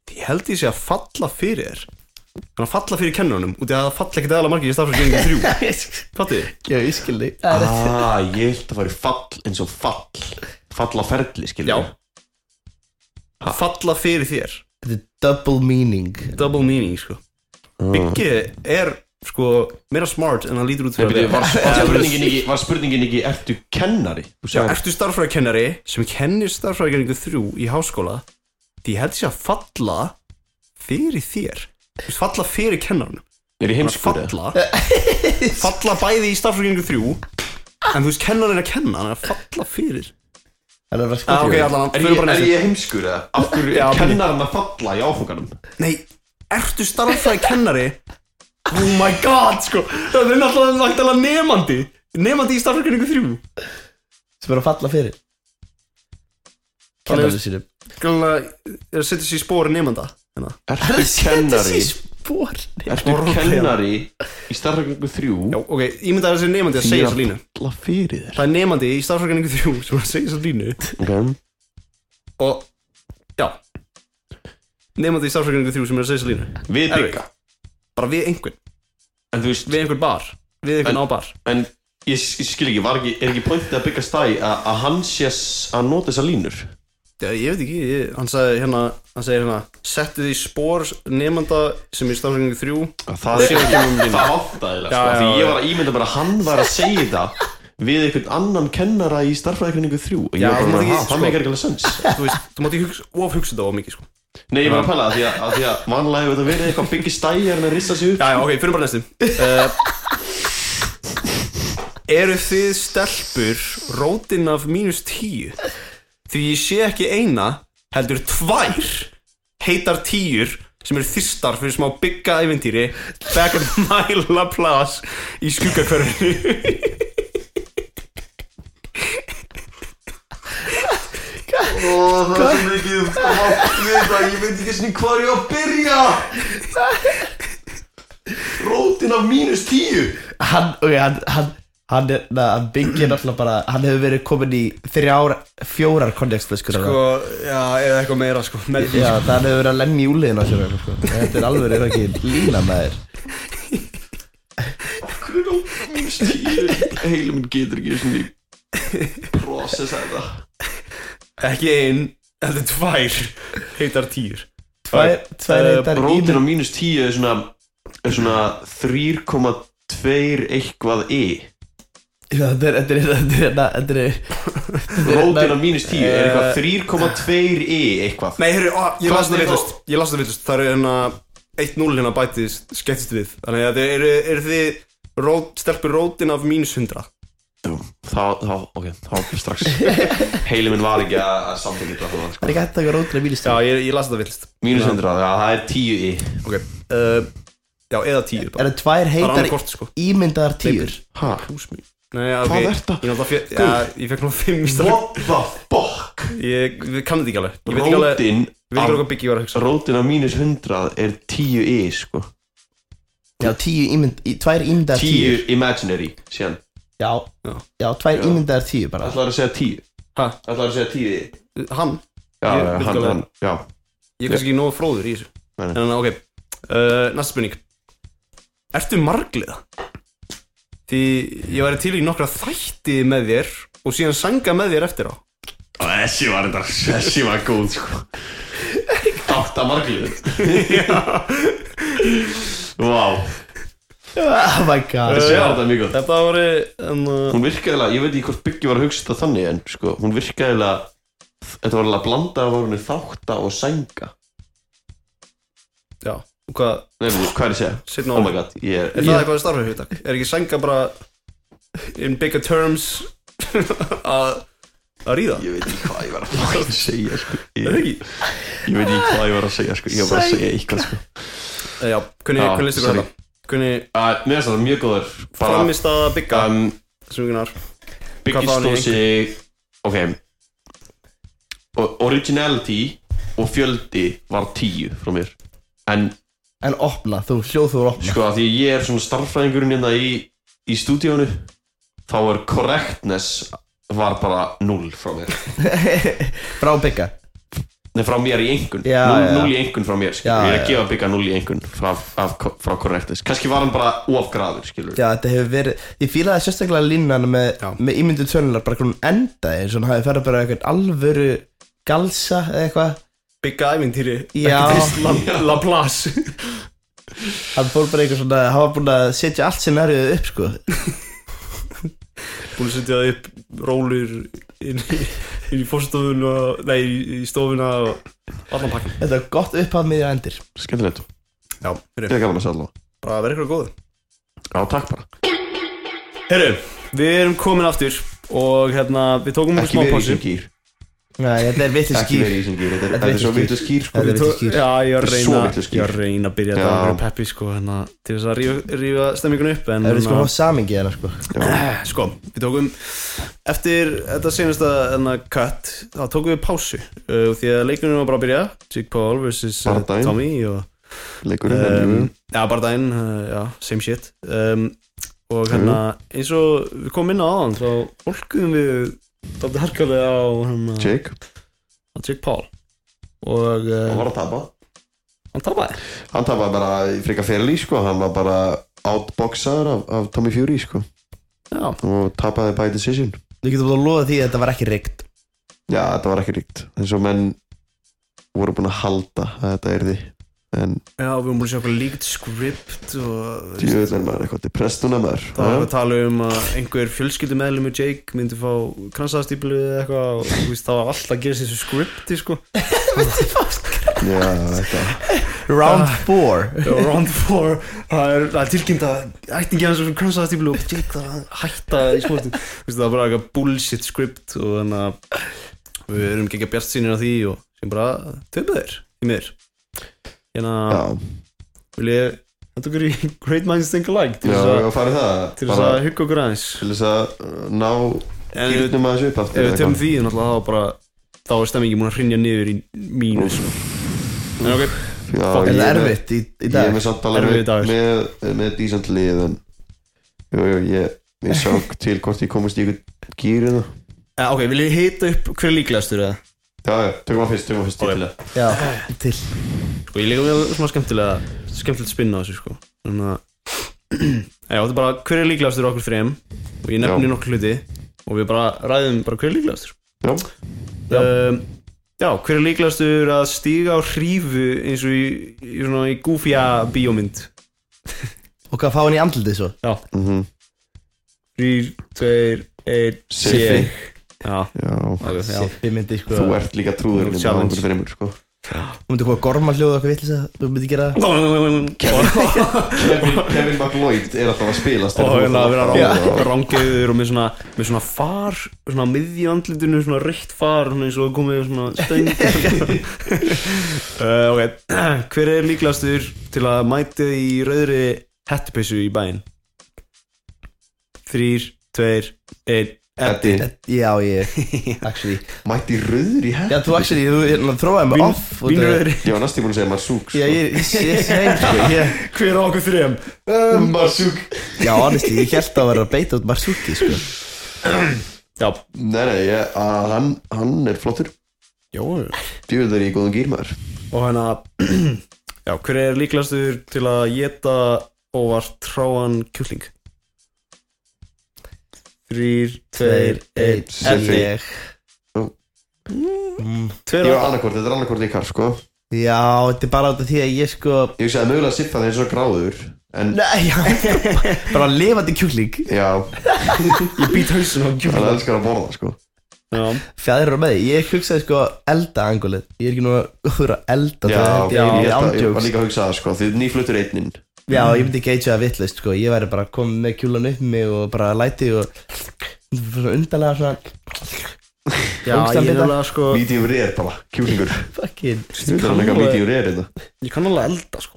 A: því held ég sé að falla fyrir þér þannig að falla fyrir kennunum út í að það falla ekkert eðalega margir í starfræðikenningu þrjú Fattu þið?
B: Já, ég skildi Það er rétt.
D: Ah, ég held að væri fall eins og fall Fall á ferli, skilur
A: Já Falla fyrir þér
B: Þetta er double meaning
A: Double meaning, sko Byggi er, sko, meira smart en hann lítur út
D: Nei,
A: fyrir
D: byrju, var, var,
A: Eh,
D: spurningin ekki, var spurningin ekki Ertu kennari? Þú
A: Já,
D: sagðir-
A: ertu starfræðikennari sem kennir starfræðikennningu þrjú í háskóla því held ég sé að falla fyrir þér Þú veist, falla fyrir kennarunum
D: Er ég heimskur eða?
A: falla falla bæði í starfsfólkingu þrjú en þú veist kennar henni að kenna hann er að falla fyrir
B: Hann er bara
A: ah, ok,
B: skildi
A: allan,
D: Er
A: fyrir
D: ég, er
A: bara næstu
D: ég heimskur eða? Af hverju er
A: Já, byrju.
D: kennarinn að falla í áfanganum?
A: nei, ertu starffræði kennari oh my god, sko það er náttúrulega lagt alveg nefandi nefandi í starfsfólkingu þrjú
B: Sem er að falla fyrir
A: Hann er-
B: Kennarðu sínum
A: gæmlega, er að setja sér í spóri nefanda hérna.
D: Ertu kennari?
B: spór
D: Ertu kennari í starfrækningu þrjú?
A: já, ok, ég myndi að þessi nefandi að segja þessa línu
D: Alla fyrir þér
A: það er nefandi í starfsfólkingu þrjú sem er að segja þessa línu
D: okay.
A: og, já nefandi í starfsfólkingu þrjú sem er að segja þessa línu
D: Við
A: Erfitt.
D: bygga
A: bara við einhvern
D: En þú veist,
A: við einhvern bar við einhvern á bar
D: en ég, s- ég skil ekki, var ekki, er ekki pointið að bygga stæ að að hann sé s- að nota þessa línur?
A: Já, ég veit ekki, ég, hann sagði hérna hann segir hérna, settu því spór nefnda sem er stafsækningu þrjú
D: Að Það sé ekki um línu Það áttaðilega,
A: Já,
D: sko,
A: já,
D: því ég
A: já.
D: var að ímynda bara að hann var að segja það við einhvern annan kennara í starfrækningu þrjú og ég
A: Já,
D: var
A: þú
D: bara, að
A: mátt ekki,
D: það
A: sko-
D: meikar ekki alveg sens
A: þú veist, þú mátt ekki hugsa, of hugsa þetta of mikið sko
D: Nei, ég var að pæla að því að, að, því að vanlega hefur þetta verið eitthvað byggir stæjar en að rissa sig upp
A: Já, já, ok, fyrir bara næstum uh, Eh, Eru þið stelpur rótin af mínus tíu? Því ég sé ekki eina heldur tvær heitar tíur sem eru þýstar fyrir smá bygga æventýri back at Myla Plus í skuggakverfinu
D: Og það er svo mikið hátt við þetta Ég veit ekki svona hvað ég á að byrja Rótin af mínus tíu
B: hann, ok, hann, hann, hann, er- na, hann byggir náttúrulega bara, hann hefur verið komin í þrjár, fjórar konjaksflöskur sko,
A: já, eða eitthvað meira sko með
B: Já, það hefur verið að lemja í úliðin á sér eitthvað, sko. Þetta er alveg er ekki lína með þér
D: Hvernig rótin af mínus tíu Heilum minn getur ekki svona Processa þetta
A: Ekki ein, heldur tvær heitar tíur
B: Tvær, tvær
A: eh,
B: heitar í
D: Rótin af mínus tíu er svona Er svona 3,2 eitthvað e
B: Já, Þetta er, þetta er, þetta er, þetta er,
D: Rótin af mínus tíu er
A: eh,
D: eitthvað 3,2 e eitthvað
A: Nei, heyrðu, ó, ég
D: Hvað
A: las það
D: er þá?
A: villust Ég las það villust, það eru hérna 1-0 hérna bætist, skemmtist við Þannig að þið eru, eru þið rót, stelpur rótin af mínus 100
D: Þá, þá, ok, þá strax Heilum minn var ekki að að samtaka þetta þannig sko.
B: það er ekki hægt að taka rótina bílist
A: Já, ég, ég las það villust
D: Mínus 100, já það er 10 í
A: Ok uh, Já, eða 10
B: Er
A: bara
B: það
A: Það
B: tvær
A: er annað
B: heitar
A: kort sko
B: ímyndaðar tíur
D: Hæ?
A: Nei, já, ok
D: Hvað er þetta?
A: Ég náttúrulega fjö, já, ég fekk nú 5 í stað
D: What the fuck?
A: Ég, við kannum þetta ekki alveg Ég
D: Rótin
A: veit ekki alveg, við veit ekki alveg byggja ég var að hugsa
D: Rótin af mínus 100 er 10 í sko
B: Já, tíu ímynd, í- tvær ímyndaðar tíur
D: 10 imaginary síðan
B: Já,
A: Já.
B: já, tvær
D: Já.
B: ímyndaðar tíur bara
D: Það er að segja 10
A: Hæ?
D: Það er að segja 10 í
A: Hann,
D: Já,
A: Ég-
D: já,
A: veit
D: hann,
A: alveg.
D: hann, já
A: ég er kannski ekki nógu fróður í þessu
D: Nei, nei.
A: En ok, uh, næsta spurning Ertu margliða? Því ég væri til í nokkra þætti með þér og síðan sanga með þér eftir á
D: Þessi var þetta, þessi var góð sko Þátt að marglið Vá,
B: Oh my god
D: þessi var þetta mjög góð
A: Þetta voru um,
D: Hún virkaðilega, ég veit ekki hvort Byggi var að hugsa þetta þannig en sko, hún virkaðilega Þetta var alveg að blanda af orðinu þátta og sænga
A: Já, hvað,
D: Nei, veitu, hvað er ég að segja?
A: setna á
D: Oh my god, ég er
A: Er það eitthvað að starfa í dag? Er ekki sanga bara in bigger terms að að ríða?
D: Ég veit ekki hvað ég var að fucking segja sko.
A: Er það
D: ég,
A: ekki?
D: ég veit ekki hvað ég var að segja sko. Ég var bara að segja eitthvað sko.
A: Eh, Já, hvernig,
D: Já,
A: hvernig listu hvað
D: sorry.
A: þetta? Hvernig
D: uh, Mér finnst þetta mjög góður bara,
A: framist að bygga
D: um,
A: Svungunar Hvað
D: Biggie
A: fáum
D: stóð
A: við
D: sig Ok O- Originality og fjöldi var tíu frá mér En
B: En opna, þú hljóð þú er opna
D: sko að því ég er svona starffræðingurinn hérna í, í stúdíónu þá er correctness var bara 0 frá mér
B: Frá bygga
D: Nei, frá mér í engun
B: Já, já, já.
D: 0 í engun frá mér, skilur
B: Já,
D: Ég er
B: já,
D: að gefa bygga 0 í engun frá, af, frá correctness Kannski var hann bara ofgraður, skilur
B: Já, þetta hefur verið Ég fílaði sérstaklega línan með,
A: Já.
B: með ímyndu tölunar bara hvernig hún endaði eins og hann hafi ferða bara eitthvað alvöru galsa eða eitthvað
A: Bygga ævintýri
B: Já.
A: Ekki fyrst La- La Place
B: hann fór bara eitthvað svona hann var búin að setja allt scenariðu upp sko
A: búin að setja upp rólur inn í, inn í fórstofuna nei, í- í stofuna og allan pakkin
B: Þetta var gott upphaf miðja endir
D: Skemmtilegt,
A: Já,
D: ég
A: heyrðu,
D: er gaman að segja allavega
A: bara verið ykkur góð
D: Já, takk bara
A: Heyrðu, við erum komin aftur og hérna, við tókum okkur
D: Ekki
A: smá
D: verið í
A: pásu
D: þessum gýr
B: Nei, þetta er vitið
D: Ekki
B: skýr
D: verið í þessum gýr, þetta er-
B: Þetta
D: þetta er svo
B: vitlaus
D: vitlaus
B: gír.
D: gýr sko.
B: Þetta
A: Við
B: er
A: tó-
B: vitlaus gír.
A: Já, ég var að
D: Þetta er
A: reyna
D: svo vitlaus gír.
A: ég var að reyna að byrja þetta
D: Já.
A: að vera peppi sko, hérna, til þess að rífa, rífa stemminguna upp en
B: Það er sko
A: hérna-
B: á samingi hérna sko
A: Eh, Sko, við tókum Eftir þetta senasta enna cut þá tókum við pásu uh, því að leikunum var bara að byrja Jake Paul vs. Uh,
D: Bardaginn.
A: Tommy og
D: Leikurinn er
A: um, Já, bara daginn, uh, já, same shit um, Og hérna, eins og við komum inn á aðan þá fólkum við Dóttir harkalega á hérna,
D: Jake
A: á Jake Paul Og uh,
D: Hann var að tapa
A: hann tapaði
D: Hann tapaði bara í frika ferli, sko Hann var bara outboxaður af, af Tommy Fury, sko
A: Já,
D: Og tapaði by decision
B: Við getum búin að lofa því að þetta var ekki reykt
D: Já, þetta var ekki ríkt eins og menn voru búin að halda að þetta er því en
A: já við erum búin að sjá okkur líkt script og
D: djúvel er maður eitthvað til prestuna maður
A: Það var
D: Já.
A: að tala um að einhver fjölskyldumæðlum með Jake myndi fá kransaðastíplu eða eitthvað og þú veist, það var alltaf að gera sér svo skripti sko
B: myndi fást
D: Já, þetta Ah.
B: Round 4
A: Round 4 Það er, það er tilkynnt að ættingi hans sem krossaðast í blú Jake það að hætta í sportin Þú veist, Það er bara eitthvað bullshit script og þannig að við erum ekki að bjart sínir á því og sem bara töpu þeir í mér Hérna
D: Já,
A: vil ég þetta okkur í Great Minds Think Alike til
D: já,
A: þess
D: já,
A: að-
D: farið það
A: til þess
D: bara
A: að hugga okkur aðeins
D: Til þess að ná
A: En ef við-
D: Gýrnum að þessu upp
A: ef
D: aftur
A: við
D: eða
A: töfum
D: hvað?
A: því náttúrulega þá bara þá er stemmingi múin að hrinja niður í mínus En ok,
D: Já,
A: Fuck,
D: ég
B: Er það
D: með-
B: erfitt í, í
D: Ég er
B: dag?
D: með samt alveg
A: Erfiður
D: með,
A: dagur.
D: með, með decent lið en jú, jú, ég, ég sá til hvort ég komist í ykkur gýr hérna
A: Eh, ok, vil ég hita upp hver er líklegastur eða?
D: Já, já, tökum að fyrst, tökum að fyrst til það
B: Já, til
A: Sko ég líka með svona skemmtilega skemmtilegt spinna á þessu sko Þannig að Já, þetta er bara hver er líklegastur okkur þrejum og ég nefni
D: Já.
A: nokkur hluti og við bara ræðum bara hver er líklegastur
D: Já,
A: Já, um, já hver er líklegastur að stíga á hrífu eins og í, í svona í goofya bíómynd
B: Og hvað fá hann í andlitið svo?
D: mm
A: 3, 2, 1,
D: Siffi
A: Já,
D: Já,
A: ok, já
B: Sippi myndi sko
D: þú ert líka trúður
A: Þú ert
D: hérna á
A: challenge.
D: okkur fremur, sko
B: Þú myndi hvað gorma hljóða okkar vill Þú myndi gera
D: Kevin, Kevin McLeod er alltaf að spilast
A: og hérna að
D: Já.
A: vera rángeður og með svona, með svona far svona miðji andlitinu, svona reykt far svona eins og komið svona stöng uh, ok hver er líklegastur til að mæta í rauðri hettupissu í bæinn þrýr, tveir, einn
D: Eddi,
B: Já, ég Actually
D: mætti rauður í hætt
B: Já, þú actually, þú hérna, þróaði mig
A: Vín-
B: off út af-
A: vínröðri
D: Ég var næstu búin að segja Marsúk sko.
B: Já, ég, ég, ég segi sko ég,
A: hver á okkur þrejum
D: Eh, Marsúk
B: Já, honestly, ég held að vera að beita út Marsuki sko
A: já,
D: Nei, nei, ég, að, hann, hann er flottur
A: Jó.
D: Djúvöldar í góðum gýrmaður
A: og hérna já, hver er líklegastur til að geta óvart tráan kjúkling þrýr, tveir, einn
D: Siffi
B: Ég
A: tveir
D: Ég
A: á
D: var annarkort, þetta er annarkort ykkar sko
B: Já, þetta er bara út af því að ég sko
D: Ég hugsaði mögulega að Siffa þeir er svo gráður En
B: Nei, já Bara lifandi kjúkling
D: já,
A: ég být hausin á
D: hann
A: kjúkling
D: elskar að borða sko
A: já,
B: Fjæðir eru með því Ég hugsaði sko elda angulið Ég er ekki nú að góður að elda
D: Já,
B: það held
D: já, ég,
B: ég, ég er
D: ég var
B: ándjóks
D: líka að hugsa það sko Þið er nýflutur einninn
B: Já, ég myndi ekki eitthvað að vitlaust sko Ég væri bara komið með kjúlan upp mig og bara læti og Svona undanlega svona
A: já ég
B: Ógeðslega
A: er
B: bita.
A: alveg sko
D: Medium rare bara, kjúlingur
B: fucking
D: Þú er hérna. hann eitthvað
A: alveg-
D: medium rare þetta
A: ég kann alveg elda sko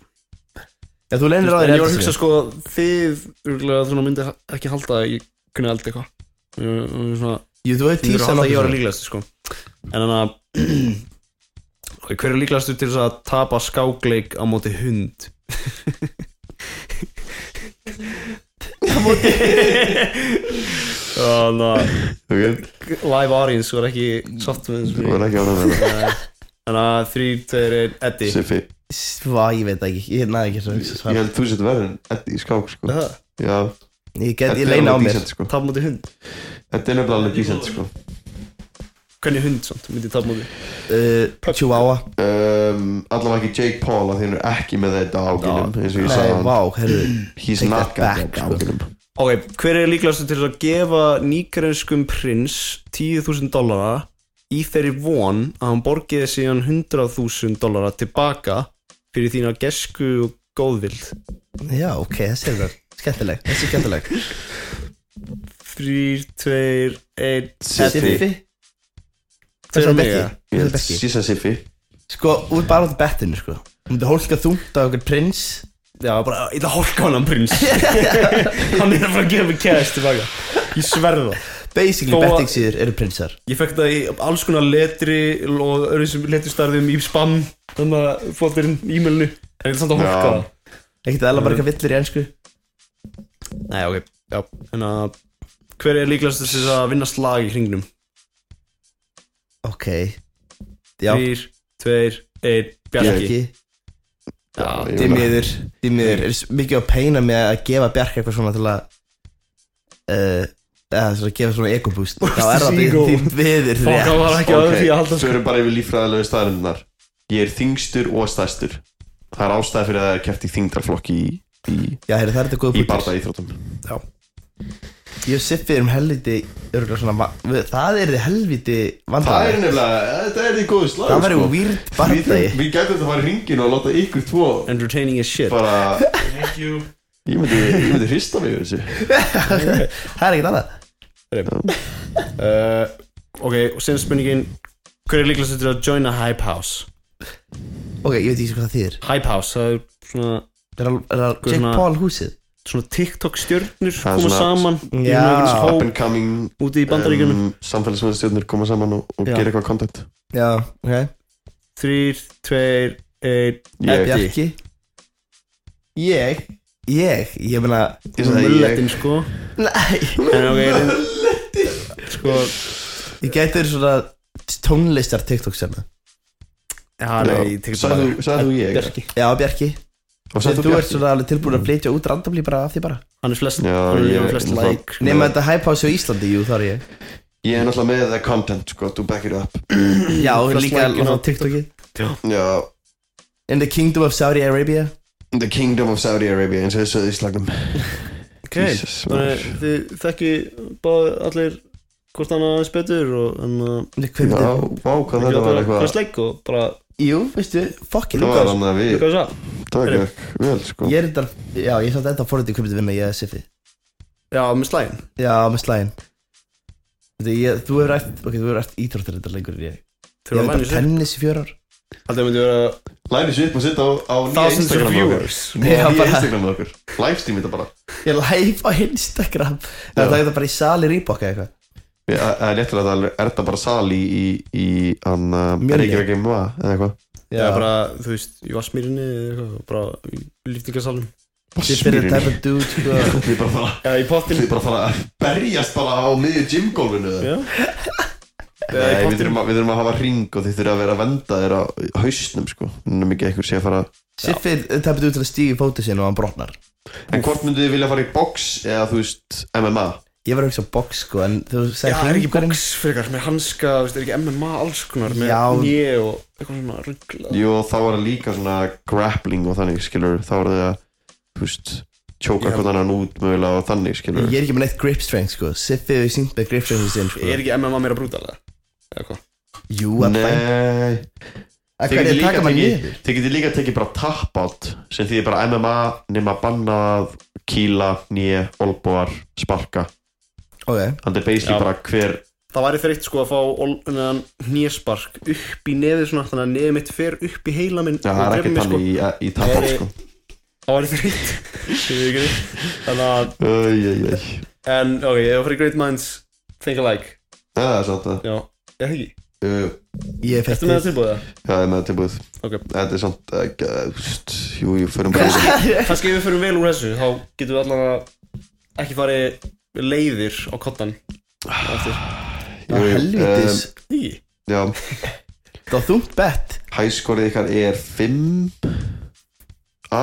B: Já, þú
A: en
B: leynir á
A: ég
B: þér
A: var
B: elda
A: að hugsa
B: sig.
A: sko þið örgulega þú myndi ekki halda að ég kunni elda eitthvað Ég- ég- svona
B: Jú, þú hefur
A: Þið eru
B: tísað
A: alltaf ég var
B: svona.
A: líklegast sko. En þannig að Ok, Hver er líklegastu til þess að tapa skákleik á móti hund? Þannig að
D: Ok,
A: live audience var ekki sátt með þessu
D: þú er ekki ánað með
A: Þannig að þrýr, tveir, einn, Eddi
D: það Siffi,
B: Svá, ég veit það ekki, ég næði ekki að
D: ég
B: svara
D: held þú setur verðin Eddi í skák sko
A: Aha,
D: Já,
B: Ég get,
D: Eddi
B: ég
D: er
B: leina á
D: alveg
B: mér
D: decent, sko.
A: Tapa móti hund
D: Eddi er nefnilega alveg decent sko
A: Hvernig hund samt, myndi tapa móti
B: uh, Chihuahua
D: um, Allavega ekki Jake Paul að þeir eru ekki með þetta á áginum Eins og ég
B: Nei,
D: sagði hann
B: vá, herru
D: He's
B: take
D: not
B: that
D: got
B: back,
D: that á
B: sko.
D: áginum
A: Ok, hver er líklegastu til þess að gefa nýkarenskum prins 10.000 dollara í þeirri von að hann borgiði síðan 100.000 dollara tilbaka fyrir þína gesku og góðvild
B: Já, ok, þessi er það Skemmtileg, þessi er skemmtileg
A: 3, 2, 1
D: Siffi,
B: Hvað
A: Tveir og
B: sagði
D: ég
A: mig, ja.
B: Becky? Hvað sagði
D: held
B: Becky?
D: Sissa Siffi
B: Sko, út bara út af bettinu, sko Hún myndi hólka þungt á okkur prins
A: Já, bara, ég ætla að hólka hann hann prins Hann er að fara að gefa mig kæðist tilbaka Ég sverða
B: Basically,
A: Þó að-
B: bettingsýður eru prinsar
A: Ég fekk það í alls konar letri og öðruvísum letristarðum í spam Þannig að flottirinn í e-mailinu En ég ætla samt að hólka
D: Já.
A: það
B: Ekkert eðla bara eitthvað villir í ennsku
A: Mm. Nei, ok, já En að hver er líklegast til þess að vinna slag í hringnum?
B: Ok Já,
A: Þrýr, tveir, einn, Bjarki
B: Bjarki
A: Já,
D: ég meina-
B: Dýmiður, dýmiður Er s- mikið á peina með að gefa Bjarki eitthvað svona til að uh, eða svona að gefa svona ekobúst Þá er það
A: ego.
B: því viður
A: Fokk, það var ekki
D: Ok,
A: að því að halda sko.
D: Förum bara yfir líffræðilegu staðarinnar Ég er þingstur og stærstur Það er ástæða fyrir að það er kæft í þingdarflokki í, í,
B: Já, heyrðu, það er þetta góð
D: í
B: punktur
D: barða íþrótum
B: Ég og Siffi erum helviti örgulega svona va- við- Það er þið helviti
D: Það er
B: vandræði
D: nefnilega, þetta er því góðu slag
B: Það væri
D: sko.
B: weird
D: Við,
B: barndegi
D: við gætum þetta að fara í ringin og láta ykkur tvo
A: Entertaining as shit
D: bara,
E: Thank you
D: ég myndi, ég myndi hrista mig yfir þessu
B: Það er ekkert annað
A: uh, Ok, og síðan spurningin Hver er líklegast til að joina Hype House?
B: Ok, ég veit ekki hvað það þýðir
A: Hype House, það er svona
B: Er það- er það
A: Hvað er
B: Jake
A: svona-
B: Paul húsið?
A: svona TikTok stjörnur
D: er
A: koma
D: svona-
A: saman í
B: Já.
A: einhvern
D: up
A: hóp
D: and coming
A: úti í bandaríkunum
D: um, samfélagsmiðastjórnir koma saman og, og
A: Já.
D: gera eitthvað content
B: Já, ok
A: þrýr, tveir, einn
D: Ég-
A: Eddi.
B: Bjarki Ég Ég, ég meina
D: Ég sagði ég,
A: mulletin sko
B: Nei
A: en ok mulletin sko
B: Ég gæti verið svona tónlistar TikTok sérna
A: já, nei,
D: já,
A: ég tek það
D: sagði þú- sagði þú ég
A: Bjarki
B: Já, Bjarki
D: og sagði
B: Þú
D: þú
B: ert
D: Bjarki
B: svona alveg tilbúin að flytja út randomli bara af því bara
A: hann er flest
D: Já,
A: hann er
D: ég-
A: líka flest
D: ég-
A: like
B: Nefna þetta hype house á Íslandi, jú, þar er ég
D: ég er náttúrulega með það content sko, to back it up
B: Já,
A: Flest
B: líka
A: like, you know.
B: á TikToki
D: já,
B: In the kingdom of Saudi Arabia
D: the kingdom of Saudi Arabia eins og þessu í slagnum
A: ok
D: Jesus,
A: þannig
D: maður.
A: þið þekki báði allir hvort hann aðeins betur og en uh,
B: Nei,
D: já,
B: Hvað myndi
D: vá, hvað
A: ekki
D: þetta var
A: láta
D: eitthvað
A: hvers leik og bara
B: Jú, veistu, fuck it
D: það var hann að við
A: hvað það
D: það gekk vel sko
B: Ég er þetta Já, ég er samt enda forrið í hvað myndi vinna ég að Siffi
A: já, með slæðin
B: Já, með slægin Þú ég- þú hefur rætt Ok, þú hefur rætt íþróttir þetta lengur en ég Ég
A: þurfa
B: hef
A: að
B: bara
A: vænja sér
B: tennis í fjör ár
A: alltaf myndi vera
D: læni sér upp og sitta á, á nýja
A: thousands of
D: Instagram okkar
A: viewers
B: Já,
D: nýja
B: bara-
D: Instagram okkar livestream þetta bara
B: Ég er live á Instagram Það er þetta bara í sali rýbokka eitthvað
D: Ég- það er léttilega að það er þetta bara sal í í, í hann uh,
B: Mjölnir.
D: Reykjavík MVA eða eitthvað
A: Já, bara, þú veist, í Vassmýrinni eða eitthvað, bara í lýftingasalum
B: Þið fyrir að tæpa dude sko
D: Þið bara fara
A: Já, í pottinu
D: Þið bara fara að berjast bara á miðju gymgólfinu eða?
A: Já
D: Nei,
A: í
D: við
A: pottinum
D: þurfum, að, við þurfum að hafa ring og þið þurfum að vera að venda þér á hausnum sko Nefnum ekki eitthvað sé að fara
B: Siffi tæpa dude til að stíga í fótið sinn og hann brotnar
D: En hvort myndu þið vilja fara í box eða þú veist MMA
B: Ég var að hugsa á box sko En þú
A: Já,
B: sagði
A: það er ekki
B: hringurinn-
A: box frekar, með hanska, þú veist, er ekki MMA alls konar með
B: Já.
A: nýi og eitthvað svona ruggla
D: Jú, þá var það líka svona grappling og þannig skilur Þá var það að, þú veist, tjóka
A: Já.
D: hvort annan út mögulega og þannig skilur
B: Ég er ekki með neitt grip strength sko Siffi hefur sínt með grip strength sinn sko
A: Er ekki MMA meira brútalega? Eða hvað?
B: Jú, að bæn
D: Nei,
B: Að
D: þið
B: hverju
D: getið
B: taka
D: líka, tekið-
B: maður niður
D: þið getið líka tekið bara tap out sem því bara MMA nema bannað, kýla, nýja, olbúar, sparka
B: Ok
D: Þannig er basically
A: Já.
D: bara hver
A: Það væri þreytt sko að fá nýjarspark upp í nefið svona þannig að nefið mitt fer upp í heila minn
D: Já, það er ekki
A: sko.
D: þannig í, í tapar
A: Nei.
D: sko
A: Það væri þreytt Ég veit ekki. Þannig að,
D: Æj, æj, æj
A: en ok, ef það fyrir Great Minds Think alike,
D: Það er samt að
A: já, er það ekki?
D: Jú,
B: Ég fekk
A: Ertu með það tilbúið það?
D: Það er með tilbúið
A: Ok.
D: Þetta er samt ekki að- þú veist, Jú, jú, förum bara yfir.
A: Kannski ef við fyrir vel úr þessu þá getum við allan að ekki farið leiðir á kottan eftir.
B: Það
D: Jú,
B: var
D: jú,
B: helvitis
A: Í,
D: um, Já,
B: Það var þungt bett
D: hæskorið ykkar er 5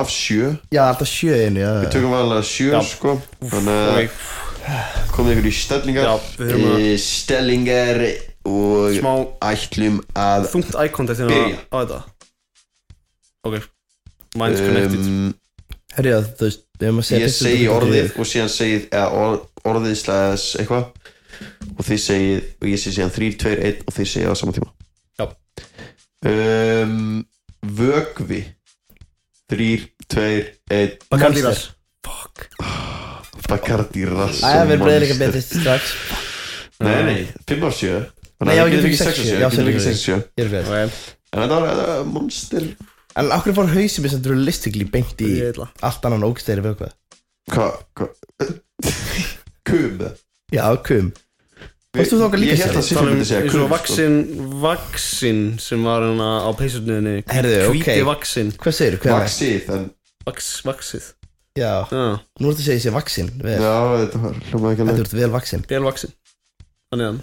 D: af 7
B: Já, alltaf sjöinu, já
D: Við tökum alveg 7
A: Já.
D: sko Þannig að
A: ok,
D: komið ykkur í stellingar
A: Já, við þurfum að-
D: Í Stellingar og
A: smá
D: ætlum að
A: þungt ækontakt hérna
D: Eh, Byrja.
A: á þetta Ok, minds connected
D: um,
B: Herri, já, þú veist, við erum að segja
D: Ég
B: fyrst-
D: segi orðið og síðan segið eða orð, orðið slæðis eitthvað og þið segið og ég segi síðan 3, 2, 1 og þið segið á sama tíma
A: Já.
D: um, Vögvi 3, 2, 1
B: Bacardi
A: Monster.
B: Ras.
D: Bacardi Rass
B: Æ, við erum
D: og
B: breiðir ekki
D: Monster.
B: betri strax
D: Nei, nei, 5 af 7
B: Nei, já, ég
D: við getum
B: fekk
D: ekki
B: sex
D: 6 af
B: sjö.
D: 7 Ég
B: Já,
D: getum
B: sorry,
D: ekki
B: sorry.
D: 6 af 7
B: Ég er fyrir
A: Ok,
D: En þetta var- þetta var monster
B: En okkur fór hausið mér sem þú eru listigli beint í
A: ég eitthvað
B: Allt annan ógstæri við eitthvað
D: Hvað, hvað Kum
B: Já, kum Varst þú þangað líka
D: Ég held
B: sér?
D: að
A: um
D: Siffi myndi segja
A: Svo
D: kum sko.
A: vaksin, vaksin sem var hérna á peysurniðinni
B: Herðu, ok
A: Hvíti vaksin,
B: Hvað segir, hvað er það?
D: Vaxið, en
A: vaks, vaksið
B: Já,
A: Já,
B: nú ertu að segja sér vaksin Vel,
D: Já, þetta var hljómaði ekki alveg
B: þetta ertu vel vaksin
A: vel vaksin Þannig að,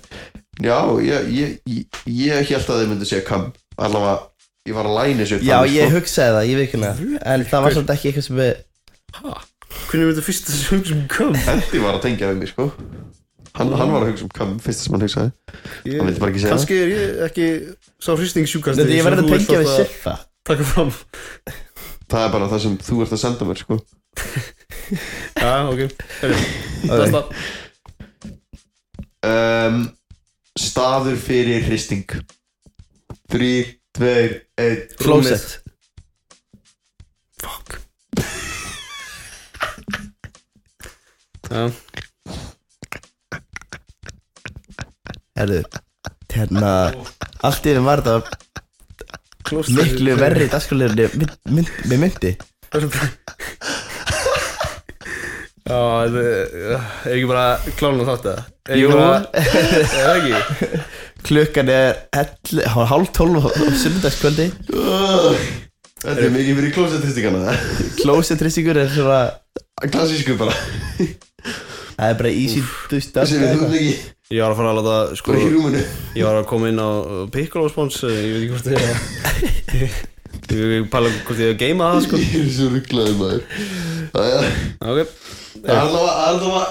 D: Já, ég, ég, ég, ég held að þið myndu segja kam Allavega, ég var að læna þessu
B: Já, ég
D: sko.
B: hugsaði það, ég veit ekki hana En það var svolítið ekki eitthvað sem við
A: ha, hvernig er þetta fyrsta sem sem kom?
D: Eddi var að tengja við mig, sko Hann, hann var að hugsa um kam, fyrsta sem hann hugsaði Hann vildi bara ekki segja
A: Kanski er ég ekki sá hristingssjúkast
B: Þetta ég verði að tengja við Siffa
A: Takka fram
D: það Það er bara það sem þú ert að senda mér, sko
A: Já, ok Herri,
B: Ok.
A: Næsta
D: um, Staður fyrir hristing 3, 2, 1
B: Closet
A: Fuck Já,
B: Herðu Hérna Allt í þeim var þetta
A: klóstur
B: Miklu verri dagskulegurni Mér myndi
A: Já, þetta er er ekki bara klána þátt að Er
B: Jú.
A: ekki bara- Er það ekki?
B: Klukkan er elli, Hálf tólf á sunnudagskvöldi
D: Þetta er mikið fyrir klósetristingana
B: Closet rissingur er svona
D: Klassísku bara
B: Það er bara easy to stuff
D: sem við höfum ekki
A: Ég var að fara að láta sko
D: bara í rúminu
A: Ég var að koma inn á uh, Piccolo spons uh, Ég veit ekki hvort ég Ég veit ekki pæla hvort ég hef geimað það sko
D: Ég er svo rugglaður maður Það er-
A: Ok
D: það er allavega það er allavega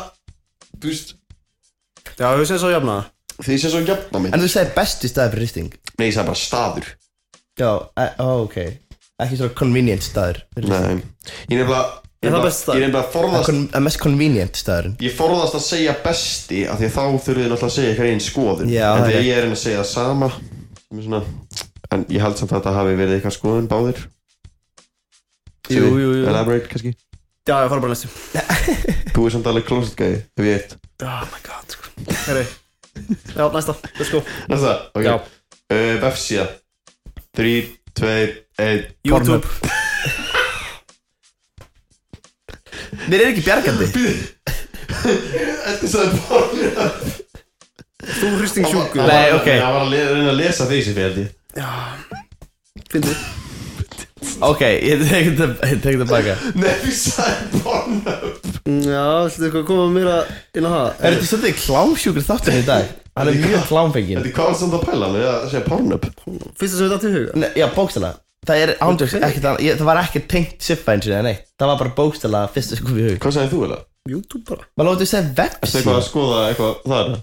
D: Þú veist
A: Já, við séum svo jafna
D: Þið sé svo jafna minn
B: En þú segir bestu staði fyrir risting
D: Nei, það er bara staður
B: Já, e- ó, ok Ekki svona convenient staður fyrir hristing.
D: Nei Ég er nefnilega Ég
A: Er
D: er
A: það
D: nefnilega-
A: best staður?
D: ég er nefnilega
B: Það er
D: forðast
B: kon- að mest convenient staðurinn
D: Ég forðast að segja besti af Því að þá þurfið þið náttúrulega að segja ykkur einn skoðun
B: Já,
D: En
B: það
D: því
B: er
D: að ég er enn að segja það sama sem er svona, En ég held samt að þetta hafi verið eitthvað skoðun báðir
A: Jú, jú, jú.
D: Elaborate kannski
A: Já, ég fara bara næstu
D: Þú er samt alveg closet gæði Ef ég eitt
A: Oh my god sko Herri Já, næsta, let's go
D: Næsta Ok
A: Já.
D: uh, Vefsíða 3, 2, 1
A: YouTube
B: Mér er ekki bjargandi
D: Þetta sagði Pornhub
A: Þú hristing sjúku
B: Nei, ok.
D: Það var að le- reyna að lesa því sem ég held ég
A: Fyndi
B: Ok, ég tek þetta- ég tek þetta baka
D: Nei, þú sagði Pornhub
A: Mm, Já, ætlaðu eitthvað að koma meira inn á það
B: Er þetta svolítið klámsjúkur þáttur í dag? Hann er mjög klámfengin
D: Þetta er hvað var samt að pæla með að segja Pornhub
A: Fyrsta sem við dættum í huga
B: Nei, Já, bókstæla Það er ándjóks ekkert annað ég- Það var ekki tengt siffa eins og neitt Það var bara bókstæla fyrsta sko við hug
D: Hvað sagði þú eða?
A: YouTube bara
B: Maður lótið segja
D: Erstu eitthvað að
B: vefsíð
D: skoða eitthvað þar?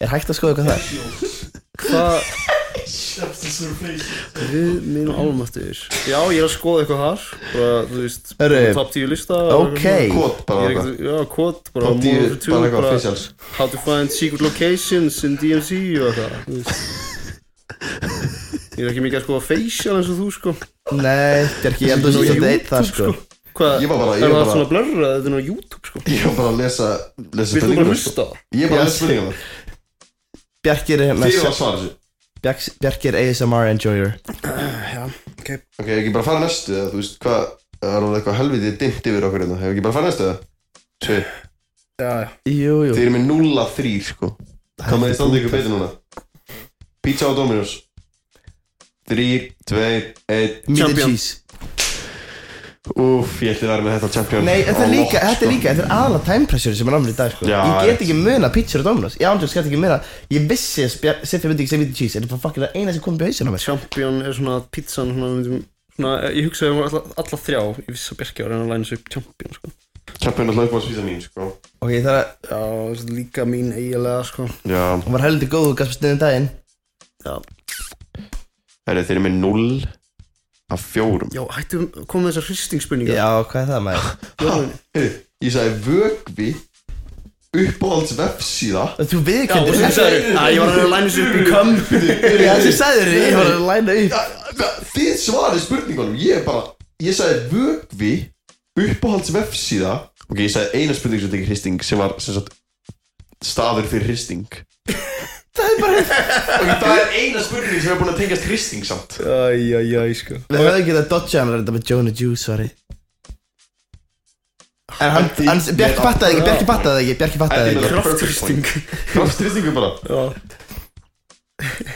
B: Er hægt að skoða eitthvað það?
A: Hvað
E: Chapter Surface
A: við mínum álmættur Já, ég er að skoða eitthvað þar Bara, þú veist
B: Herri.
A: Top 10 lista
B: Ok
D: Kót bara
A: Ég er
D: eitthvað
A: ekkert- Já, kvot Bara
D: Top 10,
A: Modern Warfare 2,
D: bara eitthvað officials
A: How to find secret locations in DMC og það þú veist. Ég er ekki mikið að skoða facial eins og þú sko
B: Nei, þetta er ekki Ég heldur
A: Nú,
B: svo þetta
A: YouTube,
B: eitt það sko
A: Hvað,
D: Ég var bara- ég
A: er
D: var
A: það
D: bara-
A: svona blörra, þetta er nú á YouTube sko
D: Ég var bara að lesa Lesa
A: Vilt þú bara
D: spurningarnar,
A: hlusta á það?
D: sko. Ég er bara að lesa spurningarna
B: Bjarki er hérna
D: Fyrir að svara þessu
B: Bjark- Bjarki er ASMR enjoyer
D: Ok, hefur ekki bara að fara næstu eða þú veist hvað Það er alveg eitthvað helviti dimmt yfir okkur hérna Hefur ekki bara að fara næstu eða? Tvö
A: Já, já
B: Jú, jú
D: Þið eru með 0-3 sko Hvað með þið standa ykkur betur núna? Pizza og Dominos 3, 2, 1
B: Meat and
A: Champion.
B: cheese
D: Úf, ég ætti að vera með þetta á champion
B: Nei, þetta
D: á
B: er líka,
D: lock,
B: þetta er
D: sko.
B: líka, þetta er aðalega time pressure sem er námið í dag sko
D: Já,
B: Ég get
D: rétt.
B: ekki muna pizza og Dominos Ég ándjóks get ekki muna Ég vissi að Spjar- Siffi myndi ekki segja meat and cheese En þetta var fucking það eina sem kom upp í hausinn á mér sko.
A: Champion er svona pizzan svona, myndum, svona, Ég hugsaði um alla, alla þrjá Ég vissi að Bjarki var að reyna að læna sig upp Champion sko
D: Champion er hlaupbólspísa mín, sko
B: Ok, það er að
A: Já, þetta er líka mín eiginlega sko
D: Já,
B: Hún var heldur góð og gafst mig sniðum daginn
D: herri, þeir eru með 0 af 4
A: Já, hættum, komum með þessar hristingspurningar
B: Já, hvað er það maður?
D: Heyrðu, ég sagði vögvi uppáhalds vefsíða
B: Þú
A: og
B: viðkendir
A: sem sagði, að ég var að reyna að læna sig upp í kom
B: Já, þessi sagður Ég var að læna upp
D: Þið svarið spurningunum, ég er bara Ég sagði vögvi uppáhalds vefsíða Ok, ég sagði eina spurning sem tekið hristing sem var sem sagt staður fyrir hristing
B: Það er bara
D: Ok, það er eina spurning sem er búin að tengjast hristing samt
A: Æjæjæj sko
B: Við höfum ekki það dodja hann Þetta með Jonah Jew, sorry En hann,
D: Ætti-
B: hann, Bjarki fattaði ekki, Bjarki fattaði ekki, Bjarki fattaði
D: Ætti-
B: ekki
A: Krafthristing
D: Krafthristingu bara
A: Já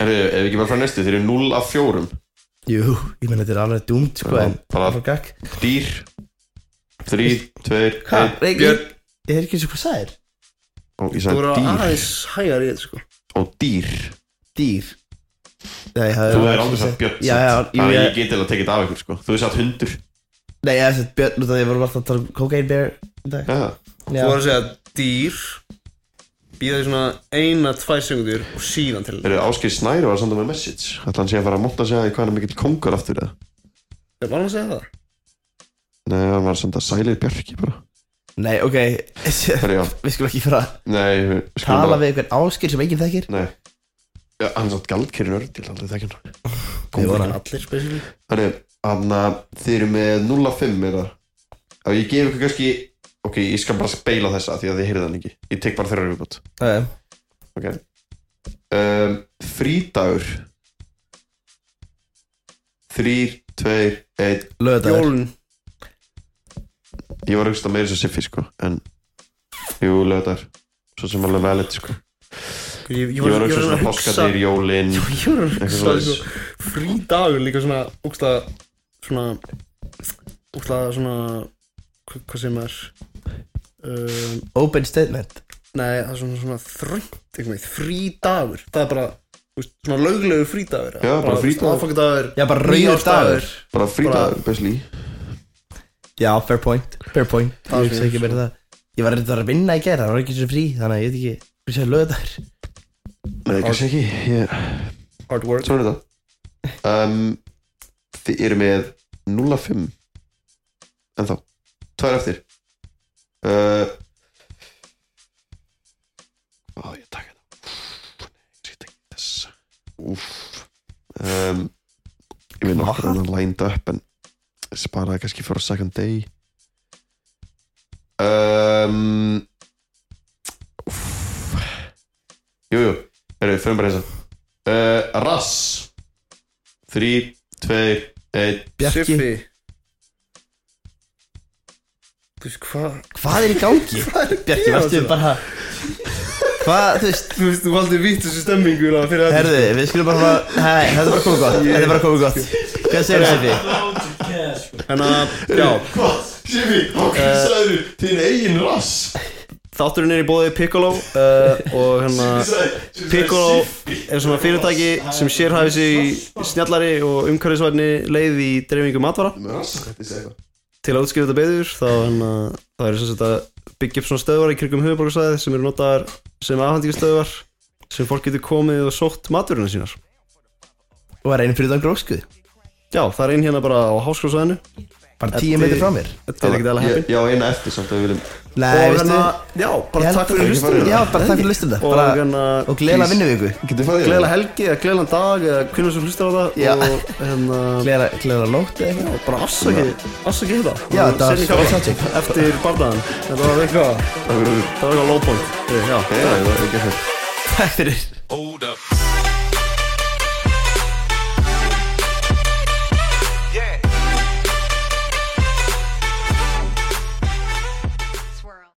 D: Herru, ef við ekki bara frá næstu, þeir eru 0 af 4
B: Jú, ég meina þetta er alveg dúmt, sko, en
D: Bara
B: Það var gagg
D: dýr 3, 2, 1
B: Hvað? Ég
A: Björn.
B: ég er ekki eins og hvað það er
D: og ég
A: Þú
D: sagði
A: voru
D: dýr
A: aðeins hægar í þetta sko
D: og dýr
B: Dýr Nei, það
D: Þú hefur aldrei sagt björn
B: Já, já, jú,
D: Þannig að
B: ég-
D: ég geti alveg að tekið þetta af ykkur sko Þú hefur sagt hundur
B: Nei, ég hef sagt björn út af því að ég voru alltaf að tala um cocaine bear í dag.
D: ja.
A: Þú
B: Já,
A: voru að segja dýr Býða því svona eina, tvær segundur og síðan til
D: Þeir eru Áskei Snæri var að senda með message Ætla hann sé að fara að monta sig að því hvað hann er mikill kongur aftur eða
A: Var hann að segja það?
D: Nei, hann var að senda sælir björki bara
B: Nei, ok, við
D: Herri, já.
B: skulum ekki fara að
D: Nei, við skulum
B: tala
D: bara-
B: við einhvern áskil sem enginn þekkir
D: Nei Já, hann er satt galdkeri nörd, ég ætla aldrei að þekkja hann
A: Við vorum allir spesifík
D: Þannig, hann að þið eru með 0.5 er það Ef ég gef ykkur kannski Ok, ég skal bara speila þessa því að þið heyrið hann ekki Ég tek bara þeirra viðbútt
B: Ok,
D: Ok um, Frídagur 3, 2, 1
B: lögðar
A: Jólun
D: Ég var aukst að meira svo siffi sko En, jú, lögðar Svo sem alveg velit sko
A: Ég,
D: Ég var aukst svona páskadir, jólin
A: Ég var að
D: Eitthvað
A: hugsa
D: svoleiðis.
A: sko Frí dagur líka svona Úksta Svona Úksta svona hva- Hvað sem er um,
B: Open statement
A: Nei það er svona svona þröngt einhvern veginn Frí dagur Það er bara þú veist, Svona löglegu frí dagur
D: Já, bara frídagur.
A: Aðfangadagur
B: Já, bara rauður dagur
D: Bara frídagur, basically
B: Já, fair point, fair point
A: Það
B: Ég hugsa
A: er
B: ekki meira það Ég var reyndar að vinna í gera, það var ekki svo frí Þannig að ég veit ekki, við séum lögðar
D: Nei, kannski ekki Ég
A: Hard work
D: Svona er þetta um, Þið eru með 0.5 En þá Tvær eftir uh, Ó, ég taka þetta Nei, ég taka þess Úf um, Ég veit nokkur að hann lined up En sparaði kannski fyrir second day um, úff. Jú, jú Erum við fyrir bara þess uh, Rass 3, 2, 1
B: Bjarki,
A: Siffi Þú veist hvað
B: hvað er í gangi? Bjarki,
A: gera
B: varstu
A: þetta?
B: bara Hvað, þú veist
A: Þú veist, þú valdi vitt þessu stemmingu lá, fyrir þetta.
B: Herðu, við skulum bara fara Hei, þetta er bara komið gott, þetta er bara komið gott Hvað segir Siffi?
F: Loads of cash sko.
A: En að, Hérna, já,
D: Hvað? Simi, hvað sagðu þín eigin rass?
A: þátturinn er í bóði Piccolo uh, og hérna Piccolo er svona fyrirtæki sem sérhæfi sig í snjallari og umhverfisværni leið í dreifingu matvara
D: Rass, þetta er segja
A: til að útskrifa þetta beður þá hérna, það er sem sagt að byggja upp svona stöðvar í kringum höfuborgarsæði sem eru notaðar sem afhendingastöðvar sem fólk getur komið og sótt matvöruna sínar
B: Og var einu fyrir þann gróskuð
A: Já, það er einn hérna bara á háskólasæðinu
B: Bara tíu metri frá mér
A: Þetta er ekkert alveg heppin
D: Já, eina eftir samt að við viljum
B: Nei,
A: Og
B: veistu
A: hérna, já,
B: Ég
A: bara
B: held
A: takk
B: að-
A: fyrir hlustunum
B: Já, bara takk fyrir listuna
A: Og
B: Bara-
A: hérna,
B: Og gleðilega vinnu við ykkur
D: Getur farið
A: gleðilega helgi eða gleðilega dag eða hvernig sem hlustar á það
B: Já.
A: og hérna
B: Gleðilega nótt eða eitthvað
A: já, bara afsaki, afsaki þetta
B: Já, þetta var
A: Seinni
B: stór
A: kafla.
B: sáttjék.
A: eftir barnaðan þetta var eitthvað
D: Það verður
A: það var eitthvað low point já,
D: Já, það er ekki hægt
B: Takk fyrir
G: Hold up.